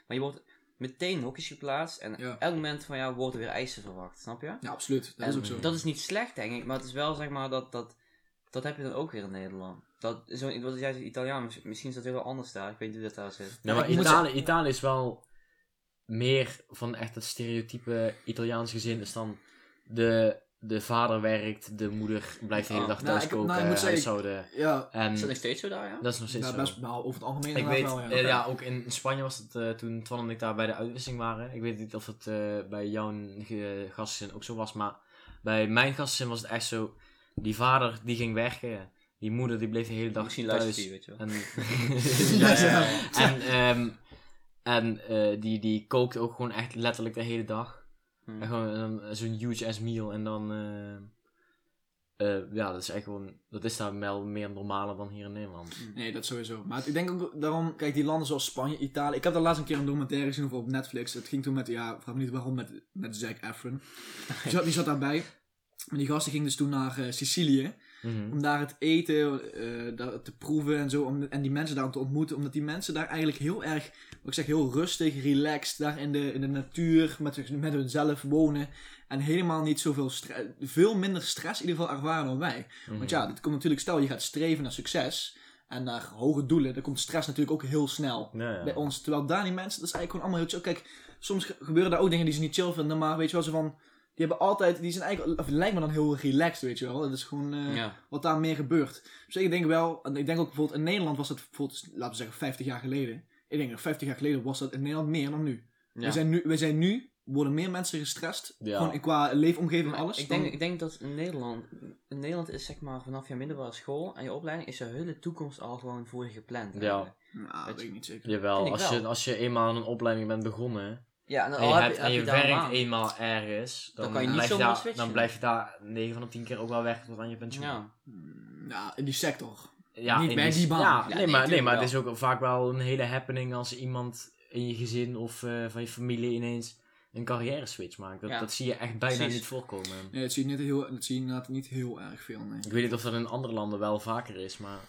Maar je wordt meteen in hokjes geplaatst en
Ja.
elk moment van jou worden weer eisen verwacht, snap je?
Ja, absoluut. Dat
En
is ook zo.
Dat is niet slecht, denk ik, maar het is wel zeg maar dat. dat dat heb je dan ook weer in Nederland. Dat, zo, wat jij zegt, Italiaan, mis- misschien is dat heel anders daar. Ik weet niet hoe dat daar zit.
Ja,
Ja,
maar
ik moet
Italië, Italië is wel meer van echt het stereotype Italiaans gezin is dan de, de vader werkt, de moeder blijft de hele
Ja.
dag
Nou,
thuis
ik- nou, ik
koken,
moet zeggen, ik-
huishouden.
Ja,
En
Is dat nog steeds zo daar, ja?
dat is nog steeds
ja,
zo.
best wel over het algemeen
Ik weet,
inderdaad wel, ja.
eh, ja, ook in Spanje was het eh, toen Twan en ik daar bij de uitwisseling waren. Ik weet niet of het eh, bij jouw ge- gastgezin ook zo was, maar bij mijn gastgezin was het echt zo. Die vader die ging werken, die moeder die bleef de hele dag
misschien
thuis.
luistert hij, weet je wel.
(laughs)
En,
Ja,
(laughs) Ja,
ja, ja.
en, ehm, en eh, die, die kookt ook gewoon echt letterlijk de hele dag.
Hmm.
En gewoon een- zo'n huge ass meal. En dan, eh, eh, ja, dat is echt gewoon, dat is daar wel meer normaler dan hier in Nederland.
Nee, dat sowieso. Maar het- ik denk ook daarom, kijk, die landen zoals Spanje, Italië. Ik heb daar laatst een keer een documentaire gezien over op Netflix. Het ging toen met, ja, vraag me niet waarom, met, met Zac Efron. Die zat, die zat daarbij. Maar die gasten gingen dus toen naar eh, Sicilië.
Mhm.
Om daar het eten eh, daar te proeven en zo. Om, en die mensen daar te ontmoeten. Omdat die mensen daar eigenlijk heel erg, wat ik zeg, heel rustig, relaxed. Daar in de, in de natuur, met, met hunzelf wonen. En helemaal niet zoveel, stre- veel minder stress in ieder geval ervaren dan wij. Want ja, dat komt natuurlijk, stel je gaat streven naar succes en naar hoge doelen, dan komt stress natuurlijk ook heel snel
Ja, ja.
oh,
bij ons. Terwijl daar die mensen, dat is eigenlijk gewoon allemaal heel chill. Kijk, soms ge- gebeuren daar ook dingen die ze niet chill vinden, maar weet je wel, ze van, die hebben altijd, die zijn eigenlijk, of lijkt me dan heel relaxed, weet je wel. Dat is gewoon eh,
Ja.
wat daar meer gebeurt. Dus ik denk wel, en ik denk ook bijvoorbeeld in Nederland was dat bijvoorbeeld, laten we zeggen, 50 jaar geleden. Ik denk dat 50 jaar geleden was dat in Nederland meer dan nu.
Ja.
We, zijn nu we zijn nu, worden meer mensen gestrest.
Ja.
Gewoon qua leefomgeving en
Maar
alles.
Ik
dan-
denk, ik denk dat in Nederland, in Nederland is zeg maar vanaf je middelbare school en je opleiding is je hele toekomst al gewoon voor je gepland.
Ja.
eigenlijk.
Nou, dat weet ik niet zeker.
Jawel,
Vind ik
als je,
wel.
als je eenmaal aan een opleiding bent begonnen
Ja, en,
en
al
je,
heb,
hebt,
heb
en je,
daar een
werkt
baan.
eenmaal ergens, dan,
kan je niet
blijf, je
zomaar
daar,
switchen.
dan blijf je daar 9 van de 10 keer ook wel weg tot aan je pensioen.
Ja.
Hmm, Nou, in die sector.
Ja,
Niet
in
bij
die-
die baan.
Ja,
Ja,
nee,
nee,
maar, nee,
tuurlijk
maar het is
wel.
ook vaak wel een hele happening als iemand in je gezin of eh, van je familie ineens een carrière switch maakt. Dat,
Ja.
dat zie je echt bijna
Precies.
niet voorkomen.
Nee, dat zie je, niet heel, dat zie je inderdaad niet heel erg veel. Nee.
Ik weet niet of dat in andere landen wel vaker is, maar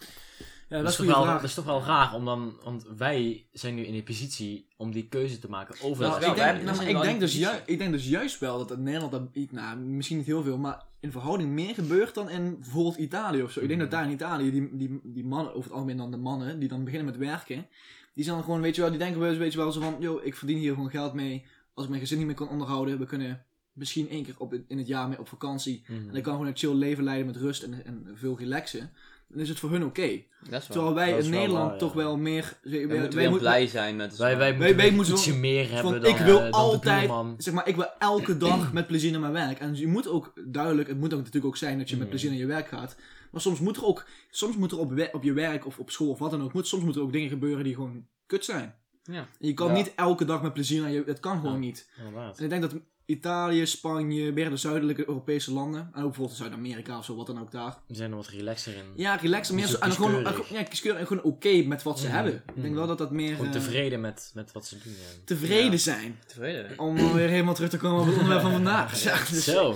Ja,
Dus
dat, is toch wel, dat is toch wel raar, om dan, want wij zijn nu in de positie om die keuze te maken over
Nou,
dat
ik,
wel,
denk,
wij hebben-
nou,
we zijn
ik,
wel
denk
in
dus
positie.
ju- ik denk dus juist wel dat in Nederland, dat, ik- nou, misschien niet heel veel, maar in verhouding meer gebeurt dan in bijvoorbeeld Italië of zo. Ik denk
Mhm.
dat daar in Italië, die, die, die mannen, over het algemeen dan de mannen, die dan beginnen met werken, die zijn dan gewoon, weet je wel, die denken wel eens, weet je wel, zo van, yo, ik verdien hier gewoon geld mee, als ik mijn gezin niet meer kan onderhouden, we kunnen misschien één keer op, in het jaar mee op vakantie,
Mhm.
en ik kan gewoon een chill leven leiden met rust en, en veel relaxen, dan is het voor hun oké.
Dat is wel.
Terwijl wij
dat is
in
wel
Nederland
waar, ja.
toch wel meer... Wij,
We moeten
wij
wel
moeten-
blij zijn met
Wij, wij moeten
wij
wel
moeten
ietsje
wel-
meer hebben
want
dan,
ik wil
eh, dan
altijd-
de buurman.
zeg maar, ik wil elke dag met plezier naar mijn werk. En je moet ook duidelijk, het moet ook natuurlijk ook zijn dat je met
Mhm.
plezier naar je werk gaat. Maar soms moet er ook, soms moet er op, we- op je werk of op school of wat dan ook, moet, soms moeten er ook dingen gebeuren die gewoon kut zijn.
Ja.
En je kan
Ja.
niet elke dag met plezier naar je, dat kan gewoon
Ja.
niet.
Inderdaad.
En ik denk dat Italië, Spanje, meer de zuidelijke Europese landen, en ook bijvoorbeeld Zuid-Amerika of zo, wat dan ook daar.
We zijn er wat relaxer in.
Ja, relaxen
Niet
mensen
zo
en gewoon,
kieskeurig.
ja, kieskeurig en gewoon oké met wat ze
Mhm.
hebben. Ik denk
Mhm.
wel dat dat meer
Gewoon
eh,
tevreden met, met wat ze doen. ja.
tevreden
Ja.
zijn.
tevreden.
Om weer helemaal terug te komen op het onderwerp van vandaag. (laughs) Ja, (laughs) dus-
Zo.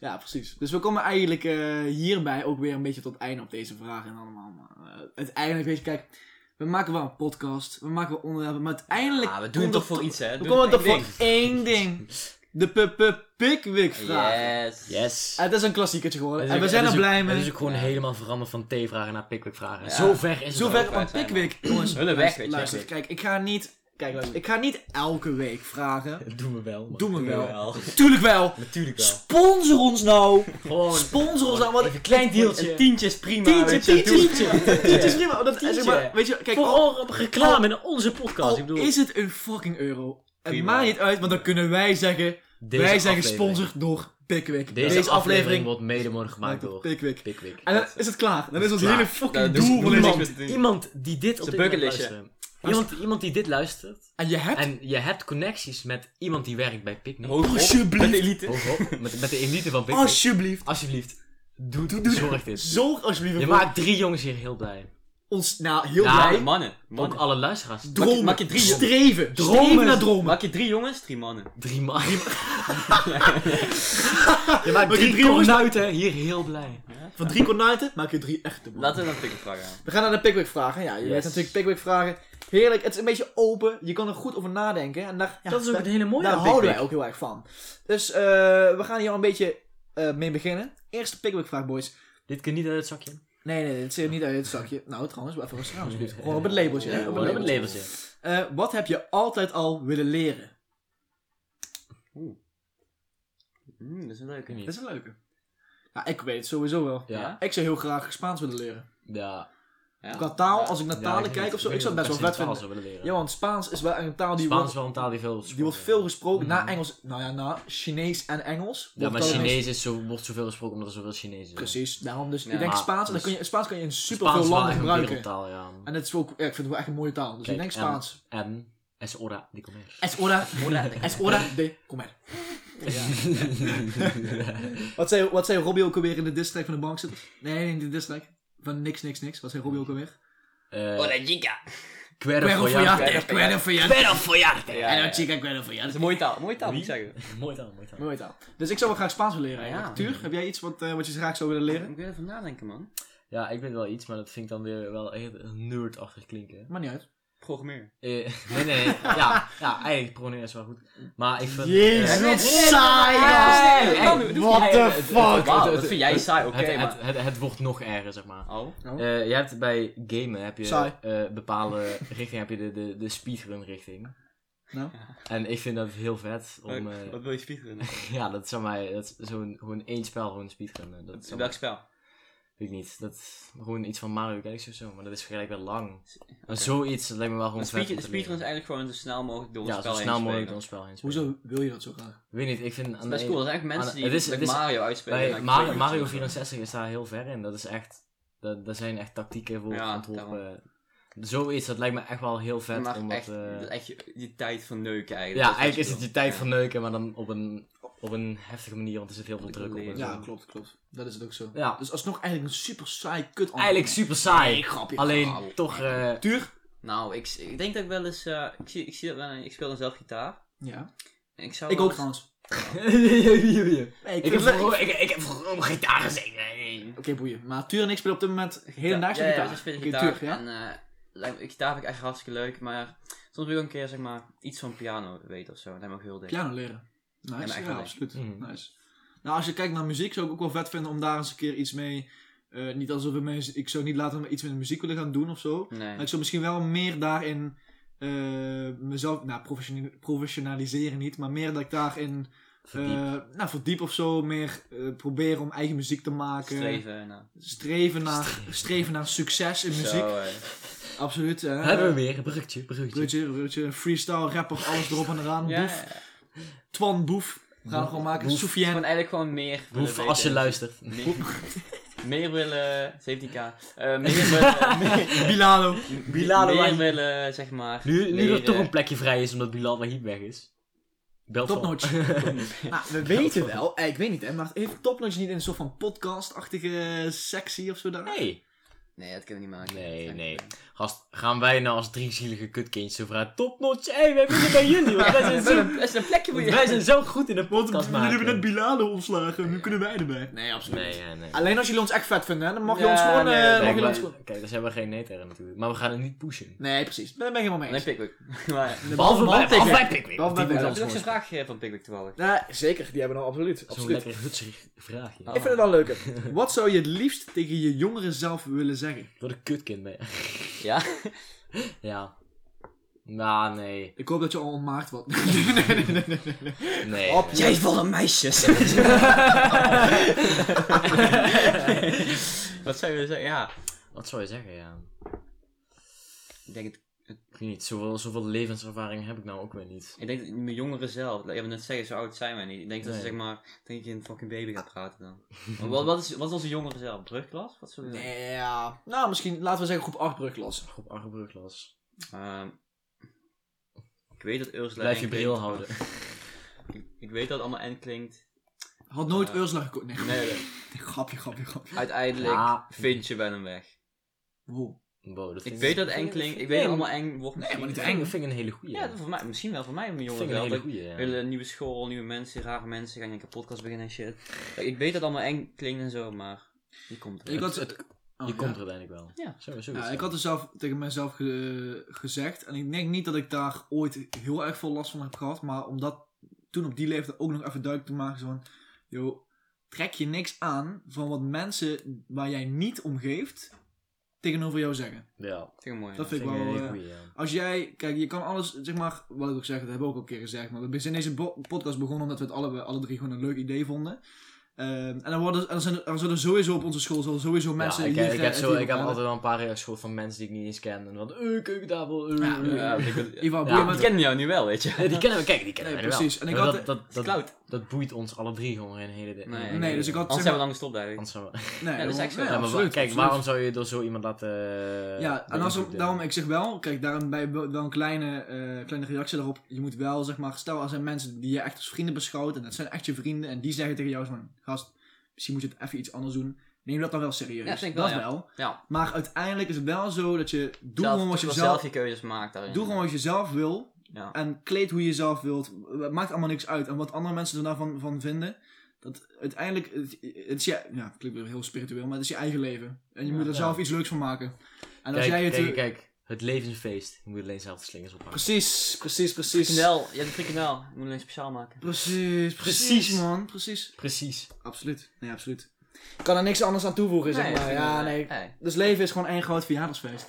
Ja, precies. Dus we komen eigenlijk eh, hierbij ook weer een beetje tot einde op deze vraag en allemaal. Maar, eh, uiteindelijk, weet je, kijk, we maken wel een podcast, we maken wel onderwerpen, maar uiteindelijk...
Ah, we doen het
komt
toch voor iets, hè?
We
Doen
komen
het
toch
voor
voor één ding. De p- p- Pickwick vraag.
Yes.
Yes.
Het is een klassiekertje geworden
Het is
en
ook-
we zijn
het
er
is ook-
blij
Het is
mee.
ook gewoon
Ja.
helemaal veranderd van T-vragen naar Pickwick-vragen.
Ja.
Zover is het ook.
Zover
ook
van
uit zijn,
Pickwick. Jongens,
Hulle weg, weet je.
luister, kijk, ik ga niet... Kijk, luister, ik ga niet elke week vragen.
Dat doen we wel. man.
Doen we
Wel.
wel. Tuurlijk wel.
Natuurlijk
Sponsor ons nou.
Gewoon
Sponsor ons nou. want
even een klein deeltje.
Een tientje is prima.
Tientje,
weet je,
tientje,
doe-
tientje. Tientje is prima. Dat,
Tientje.
zeg maar, weet je, kijk, al,
Vooral op reclame in onze podcast.
al
Ik bedoel,
is het een fucking euro. Het
Prima.
maakt niet uit, want dan kunnen wij zeggen,
deze
wij zijn
aflevering-
gesponsord door Pickwick.
Deze, aflevering wordt mede mogelijk gemaakt
wordt
door
Pickwick.
Pickwick.
En dan is het klaar. Dan is ons
Klaar. Nou, dus
hele
Ja,
fucking
dat is
doel
niks
volledig.
meer
Iemand,
te doen.
iemand die dit op
een
dit moment
bucketlistje.
luistert. Iemand, iemand die dit luistert
En je hebt...
en je hebt connecties met iemand die werkt bij Picknick.
Hoog op,
Alsjeblieft.
Met de elite.
Hoogop,
(laughs)
met, met de elite van Picknick.
Alsjeblieft.
Alsjeblieft, doe,
Oh, Doe- doe-
zorg dit.
Zorg alsjeblieft
Je
ervoor
maakt drie jongens hier heel blij.
ons, nou, heel
Ja,
blij.
mannen.
Ook
mannen.
alle luisteraars.
Dromen.
maak je drie-
Streven.
Dromen.
Streven naar dromen.
Maak je drie jongens, drie mannen.
Drie man. je maakt
Maak je
drie,
drie jongens-
kornuiten hier heel blij.
Van drie kornuiten maak je drie echte mannen.
Laten we dan pikken vragen aan.
We gaan naar de pickwick vragen. Ja, je
Yes.
weet natuurlijk pickwick vragen. Heerlijk, het is een beetje open. Je kan er goed over nadenken. En daar, ja,
dat is ook
daar,
het hele mooie
daar
aan
Nou, houden
Pickwick.
wij ook heel erg van. Dus eh, we gaan hier al een beetje eh, mee beginnen. Eerste pickwick vraag, boys.
Dit kan niet uit het zakje.
Nee, nee, dit zit niet uit het zakje. Nou, trouwens, even rustig aan. alsjeblieft. Gewoon op het labeltje. hè, op
Gewoon
het
op het
labeltje.
labeltje.
Eh, wat heb je altijd al willen leren?
Mm, dat is een leuke.
Dat is een leuke. Ja, ik weet het sowieso wel.
Ja.
Ik zou heel graag Spaans willen leren.
Ja.
Ja.
Qua taal,
Ja.
als ik naar
Ja,
talen
weet
kijk
niet-
of zo, ik
weet
zou
niet
het
of
best wel vet
ik
vinden.
taal zou willen leren.
Ja, want Spaans is wel een taal die
Spaans
wordt
is wel een taal die veel
Die wordt veel gesproken
Mhm.
na Engels. Nou ja, na Chinees en Engels.
Ja,
Wordt
maar
dat ineens-
Chinees is zo, wordt zoveel gesproken omdat er zoveel Chinees is.
Precies, daarom dus.
Ja,
ik denk
maar-
Spaans, en dan
dus-
kun je, Spaans kan je in super
Spaans
veel
is wel
landen
echt een
gebruiken.
wereldtaal, ja.
En het is ook, ja, ik vind het wel echt een mooie taal. Dus
Kijk,
ik denk
en-
Spaans.
En es hora de comer.
Es hora, es hora de comer. Wat zei, wat zei Robbie ook alweer in de district van de bank zitten? Nee, nee, in de district. Van niks, niks, niks. Wat zei Robbie ook alweer?
(laughs) Eh,
Hola chica.
Quiero
Quero
follar.
follarte, quero follarte.
Quiero follarte.
Ja,
En
ja,
dan
ja.
chica, quero
Dat is
follarte.
een mooie taal. Mooie taal, moet ik zeggen.
Mooi taal, mooi taal.
Mooie taal. Dus ik zou wel graag Spaans willen leren.
Ja.
eigenlijk. Tuur, heb jij iets wat, eh, wat je graag zou willen leren?
Ik wil even nadenken, man.
Ja, ik weet wel iets, maar dat vind ik dan weer wel heel nerdachtig klinken.
Maar niet uit.
Programmeer.
Eh, nee, nee, nee. ja, ja, eigenlijk programmeren is wel goed. Maar ik vind...
Jezus,
eh,
wat saai!
Hey,
gast.
hey,
What the
het-
fuck?
Wauw,
het-
dat vind jij saai, oké,
het,
maar...
het, het, het wordt nog erger, zeg maar.
Oh.
Eh, je hebt bij gamen heb je
Saai.
eh bepaalde richting, heb je de, de, de speedrun richting.
Nou.
En ik vind dat heel vet om... eh, (laughs)
Wat wil je speedrunnen?
ja, eh, dat zou mij, dat is zo'n, gewoon één spel gewoon speedrunnen. Dat zou mij-
Welk spel?
weet Weet ik niet. Dat, gewoon iets van Mario Galaxy of zo. Maar dat is vergelijkbaar lang. En zoiets, dat lijkt me wel gewoon
Een
vet om
speedrun
te
speedrun is
leren.
eigenlijk gewoon zo snel mogelijk door het
Ja,
spel
zo
heen
snel mogelijk
spelen.
door een spel heen spelen.
Hoezo wil je dat zo graag?
Ik weet niet, ik vind... aan de
Dat is
ene-
cool, dat zijn eigenlijk mensen
aan de-
die
het is- het
met
is-
Mario uitspelen.
Bij
en
Mario,
dan
Mario
twee minuten
64 is daar heel ver in. Dat is echt... dat- Daar zijn echt tactieken voor
Ja,
ontworpen. Zoiets, dat lijkt me echt wel heel vet.
Maar
omdat,
echt,
eh,
dat is echt je, die tijd van neuken eigenlijk.
ja,
Dat
eigenlijk is het
wat je
je tijd
wil.
van neuken, maar dan op een, op een heftige manier, want er zit heel veel druk op. en
Ja,
zo.
klopt, klopt. Dat is het ook zo.
Ja.
Dus alsnog eigenlijk een super saai kut antwoord.
Eigenlijk super saai.
Nee, grapje.
Alleen
grauw.
toch... eh, (laughs)
Tuur?
Nou, ik, ik denk dat ik wel eens... eh, ik, zie, ik, zie dat wel, ik speel dan zelf gitaar.
Ja.
En Oh, ik, zou
Ik
wel
ook
eens-
trouwens. Nee,
ik, heb vroeger, ik, ik heb vroeger om gitaar gezeten.
Oké, boeien. Maar Tuur en ik spelen op dit moment heel naast
ja,
gitaar.
Ja, ze spelen
Oké,
gitaar.
Tuur, ja?
En eh, lijkt me- gitaar vind ik echt hartstikke leuk, maar soms wil ik ook een keer zeg maar iets van piano weten of zo. Dat lijkt me ook heel dik.
Piano leren.
Ja, maar
Nice,
echt
ja,
wel.
absoluut.
Mhm.
Nice. Nou, als je kijkt naar muziek, zou ik ook wel vet vinden om daar eens een keer iets mee... eh, niet alsof ik, me- ik zou niet laten iets met muziek willen gaan doen of zo.
Nee.
Maar ik zou misschien wel meer daarin eh, mezelf... Nou, professione- professionaliseren niet, maar meer dat ik daarin... eh,
Verdiep.
nou, verdiep of zo. Meer eh, proberen om eigen muziek te
eh,
maken.
Streven. Nou.
Streven naar, streven naar succes in muziek.
Zo, eh.
Absoluut. eh,
Hebben we weer, bruggetje, bruggetje.
Bruggetje, bruggetje, freestyle, rapper, alles erop en eraan.
Ja,
Boef,
ja, ja.
Twan Boef. We gaan
Boef,
het gewoon maken.
Boef.
Soufiane.
Gewoon eigenlijk gewoon meer willen
Hoef, als je
weten.
luistert.
Meer, (laughs) meer willen...
(laughs)
17k. Eh, meer willen... meer-
Bilalo.
Bilal,
meer
waar-
willen, zeg maar... eh,
Nu, nu er
leren-
toch een plekje vrij is omdat Bilal Wahib weg is. Bel Twan.
Topnotch. Nou, we weten wel, eh, ik weet niet, hè, maar heeft Topnotch niet in een soort van podcast-achtige eh, sectie of zo daar?
Nee,
Nee, dat kunnen we niet maken.
Nee,
Dat kan
nee.
niet.
gast, gaan wij nou als drie zielige kutkindjes zo vragen. Topnotch, hé, hey, wij willen bij jullie. Want
(laughs)
wij, zijn
Dat is
zo,
een- dat is een plekje voor je.
wij zijn zo goed in een podcast
We hebben net
maken.
Bilalo ontslagen, nu kunnen wij erbij.
Nee, absoluut.
Nee, nee, nee.
Alleen als jullie ons echt vet vinden, hè, dan mag je
Ja,
ons gewoon...
nee,
eh,
nee,
mag
Kijk,
jullie
wij-
ons gewoon-
kijk, daar zijn we geen nee tegen natuurlijk. Maar we gaan het niet pushen.
Nee, precies. Daar ben ik helemaal mee
Nee,
eens.
Pickwick. (laughs) Maar, Eh,
Behalve bij
Behalve
behalve
bij
bij Pickwick.
Behalve bij
Die
Pickwick.
moet
dat is ook
ons
zo'n
gewoon-
vraag eh, van Pickwick toevallig.
Ja, zeker, die hebben we nou absoluut.
Zo'n
absoluut.
lekker hutserig vraagje.
Ik vind het wel leuk. Wat zou je het liefst tegen je jongere zelf willen zeggen?
Wat een kutkind ben je. (laughs)
Ja?
Ja. Nou, nee.
Ik hoop dat je al ontmaagd wordt. (laughs) nee, nee, nee, nee, nee, nee.
Nee.
Op
nee.
valt een meisjes. (laughs) Wat zou je zeggen? Ja.
Wat zou je zeggen, ja.
Ik denk, het,
Ik weet niet, zoveel, zoveel levenservaring heb ik nou ook weer niet.
ik denk dat mijn jongeren zelf, ja, we net zeggen, zo oud zijn wij niet. Ik denk dat ze
Nee.
zeg maar tegen een fucking baby gaat praten
(laughs)
dan. Maar wat, wat, is, wat is onze jongeren zelf? Brugklas? Wat zullen we zeggen?
Nee, ja. Nou, misschien laten we zeggen groep 8 brugklas.
Groep Argebruglas.
Ehm, ik weet dat Ursula
Blijf je
N
bril
klinkt, (laughs)
houden.
maar Ik, ik weet dat het allemaal N klinkt.
Had nooit
Eh,
Ursula gekocht. Nee,
Nee, nee.
(laughs) grapje, grapje, grapje.
uiteindelijk
Ja.
vind je wel een weg.
Wow.
Wow, dat
Ik
vind
weet dat N klinkt, ik weet dat allemaal eng wordt
Nee, maar
Dat
niet
vind,
eng.
ik- vind ik een hele goeie.
Ja, dat voor mij, misschien wel voor mij, mijn
vind
jongen.
ik een
wel.
hele
Dat-
goeie, ja.
Hele nieuwe school, nieuwe mensen, rare mensen, gaan in een podcast beginnen en shit. Kijk, Ik weet dat het allemaal eng klinkt en zo, maar je komt er.
Ik had,
Het- het-
Oh,
je
ja.
komt er uiteindelijk wel.
Ja.
Zo, zo
Ja, ik had het zelf tegen mezelf ge- gezegd. En ik denk niet dat ik daar ooit heel erg veel last van heb gehad. Maar om dat toen op die leeftijd ook nog even duidelijk te maken. Zo van, joh, trek je niks aan van wat mensen waar jij niet om geeft tegenover jou zeggen.
Ja,
Vind ik mooi.
Dat
ja.
vind ik
vind ik een
wel...
hele
eh,
goeie, ja.
Als jij, kijk, je kan alles, zeg maar, wat ik ook zeg, dat hebben we ook al een keer gezegd, maar we zijn deze bo- podcast begonnen omdat we het alle, alle drie gewoon een leuk idee vonden. Ehm, en dan, worden, en dan, zijn er, dan zullen sowieso op onze school zullen sowieso mensen
ja, ik,
hier...
ik, heb
eh,
zo,
tegen
ik heb
elkaar-
altijd wel een paar reacties gehoord van mensen die ik niet eens ken. En van, eh, keukentafel, eh,
Ja,
eh.
(laughs) Ja, ik ben-
Ivan,
Ja,
boeien,
die
maar-
Ik ken jou nu wel, weet je.
Eh,
(laughs)
Die kennen we, kijk, die kennen
Nee,
we wel.
precies. En ik
Maar
had-
dat, dat, dat,
Cloud.
dat boeit ons alle drie gewoon geen hele... de-
Nee.
hele-
Nee, dus ik had... zeg
Anders hebben we
maar-
lang gestopt eigenlijk.
Anders (laughs) zou we-
nee,
Ja, dat is echt zo.
nee,
Ja, maar wa-
absoluut,
kijk,
absoluut.
waarom zou je door zo iemand laten... eh,
Ja, en als,
beïnvloeden?
daarom, ik zeg wel, kijk, daarom bij wel een kleine, eh, kleine reactie daarop. Je moet wel, zeg maar, stel, er zijn mensen die je echt als vrienden beschouwt, en dat zijn echt je vrienden, en die zeggen tegen jou, zo van, gast, misschien moet je het even iets anders doen. Neem dat dan wel serieus.
Ja, vind ik
dat
wel, ja.
wel.
Ja.
Maar uiteindelijk is het wel zo dat je, doe
Zelf-
gewoon wat je
toch wel
zelf,
je keuzes maakt daarin.
doe gewoon wat je zelf wil,
Ja.
en kleed hoe je zelf wilt. Het maakt allemaal niks uit. En wat andere mensen er daarvan van vinden, dat uiteindelijk, het, het is je, ja, het klinkt weer heel spiritueel, maar het is je eigen leven. En je
Ja,
moet er
ja.
zelf iets leuks van maken. En als
Kijk,
jij het... eh,
kijk, kijk, het leven is een feest. Je moet alleen zelf de slingers oppakken.
Precies, precies, precies.
Frikandel, je hebt een frikandel. Ik moet alleen speciaal maken.
Precies, precies,
Precies.
man, precies.
Precies.
Absoluut, nee, absoluut. Ik kan er niks anders aan toevoegen,
Nee,
zeg maar.
ik
Ja,
vind-
nee.
nee.
Dus leven is gewoon één groot
(laughs)
verjaardagsfeest.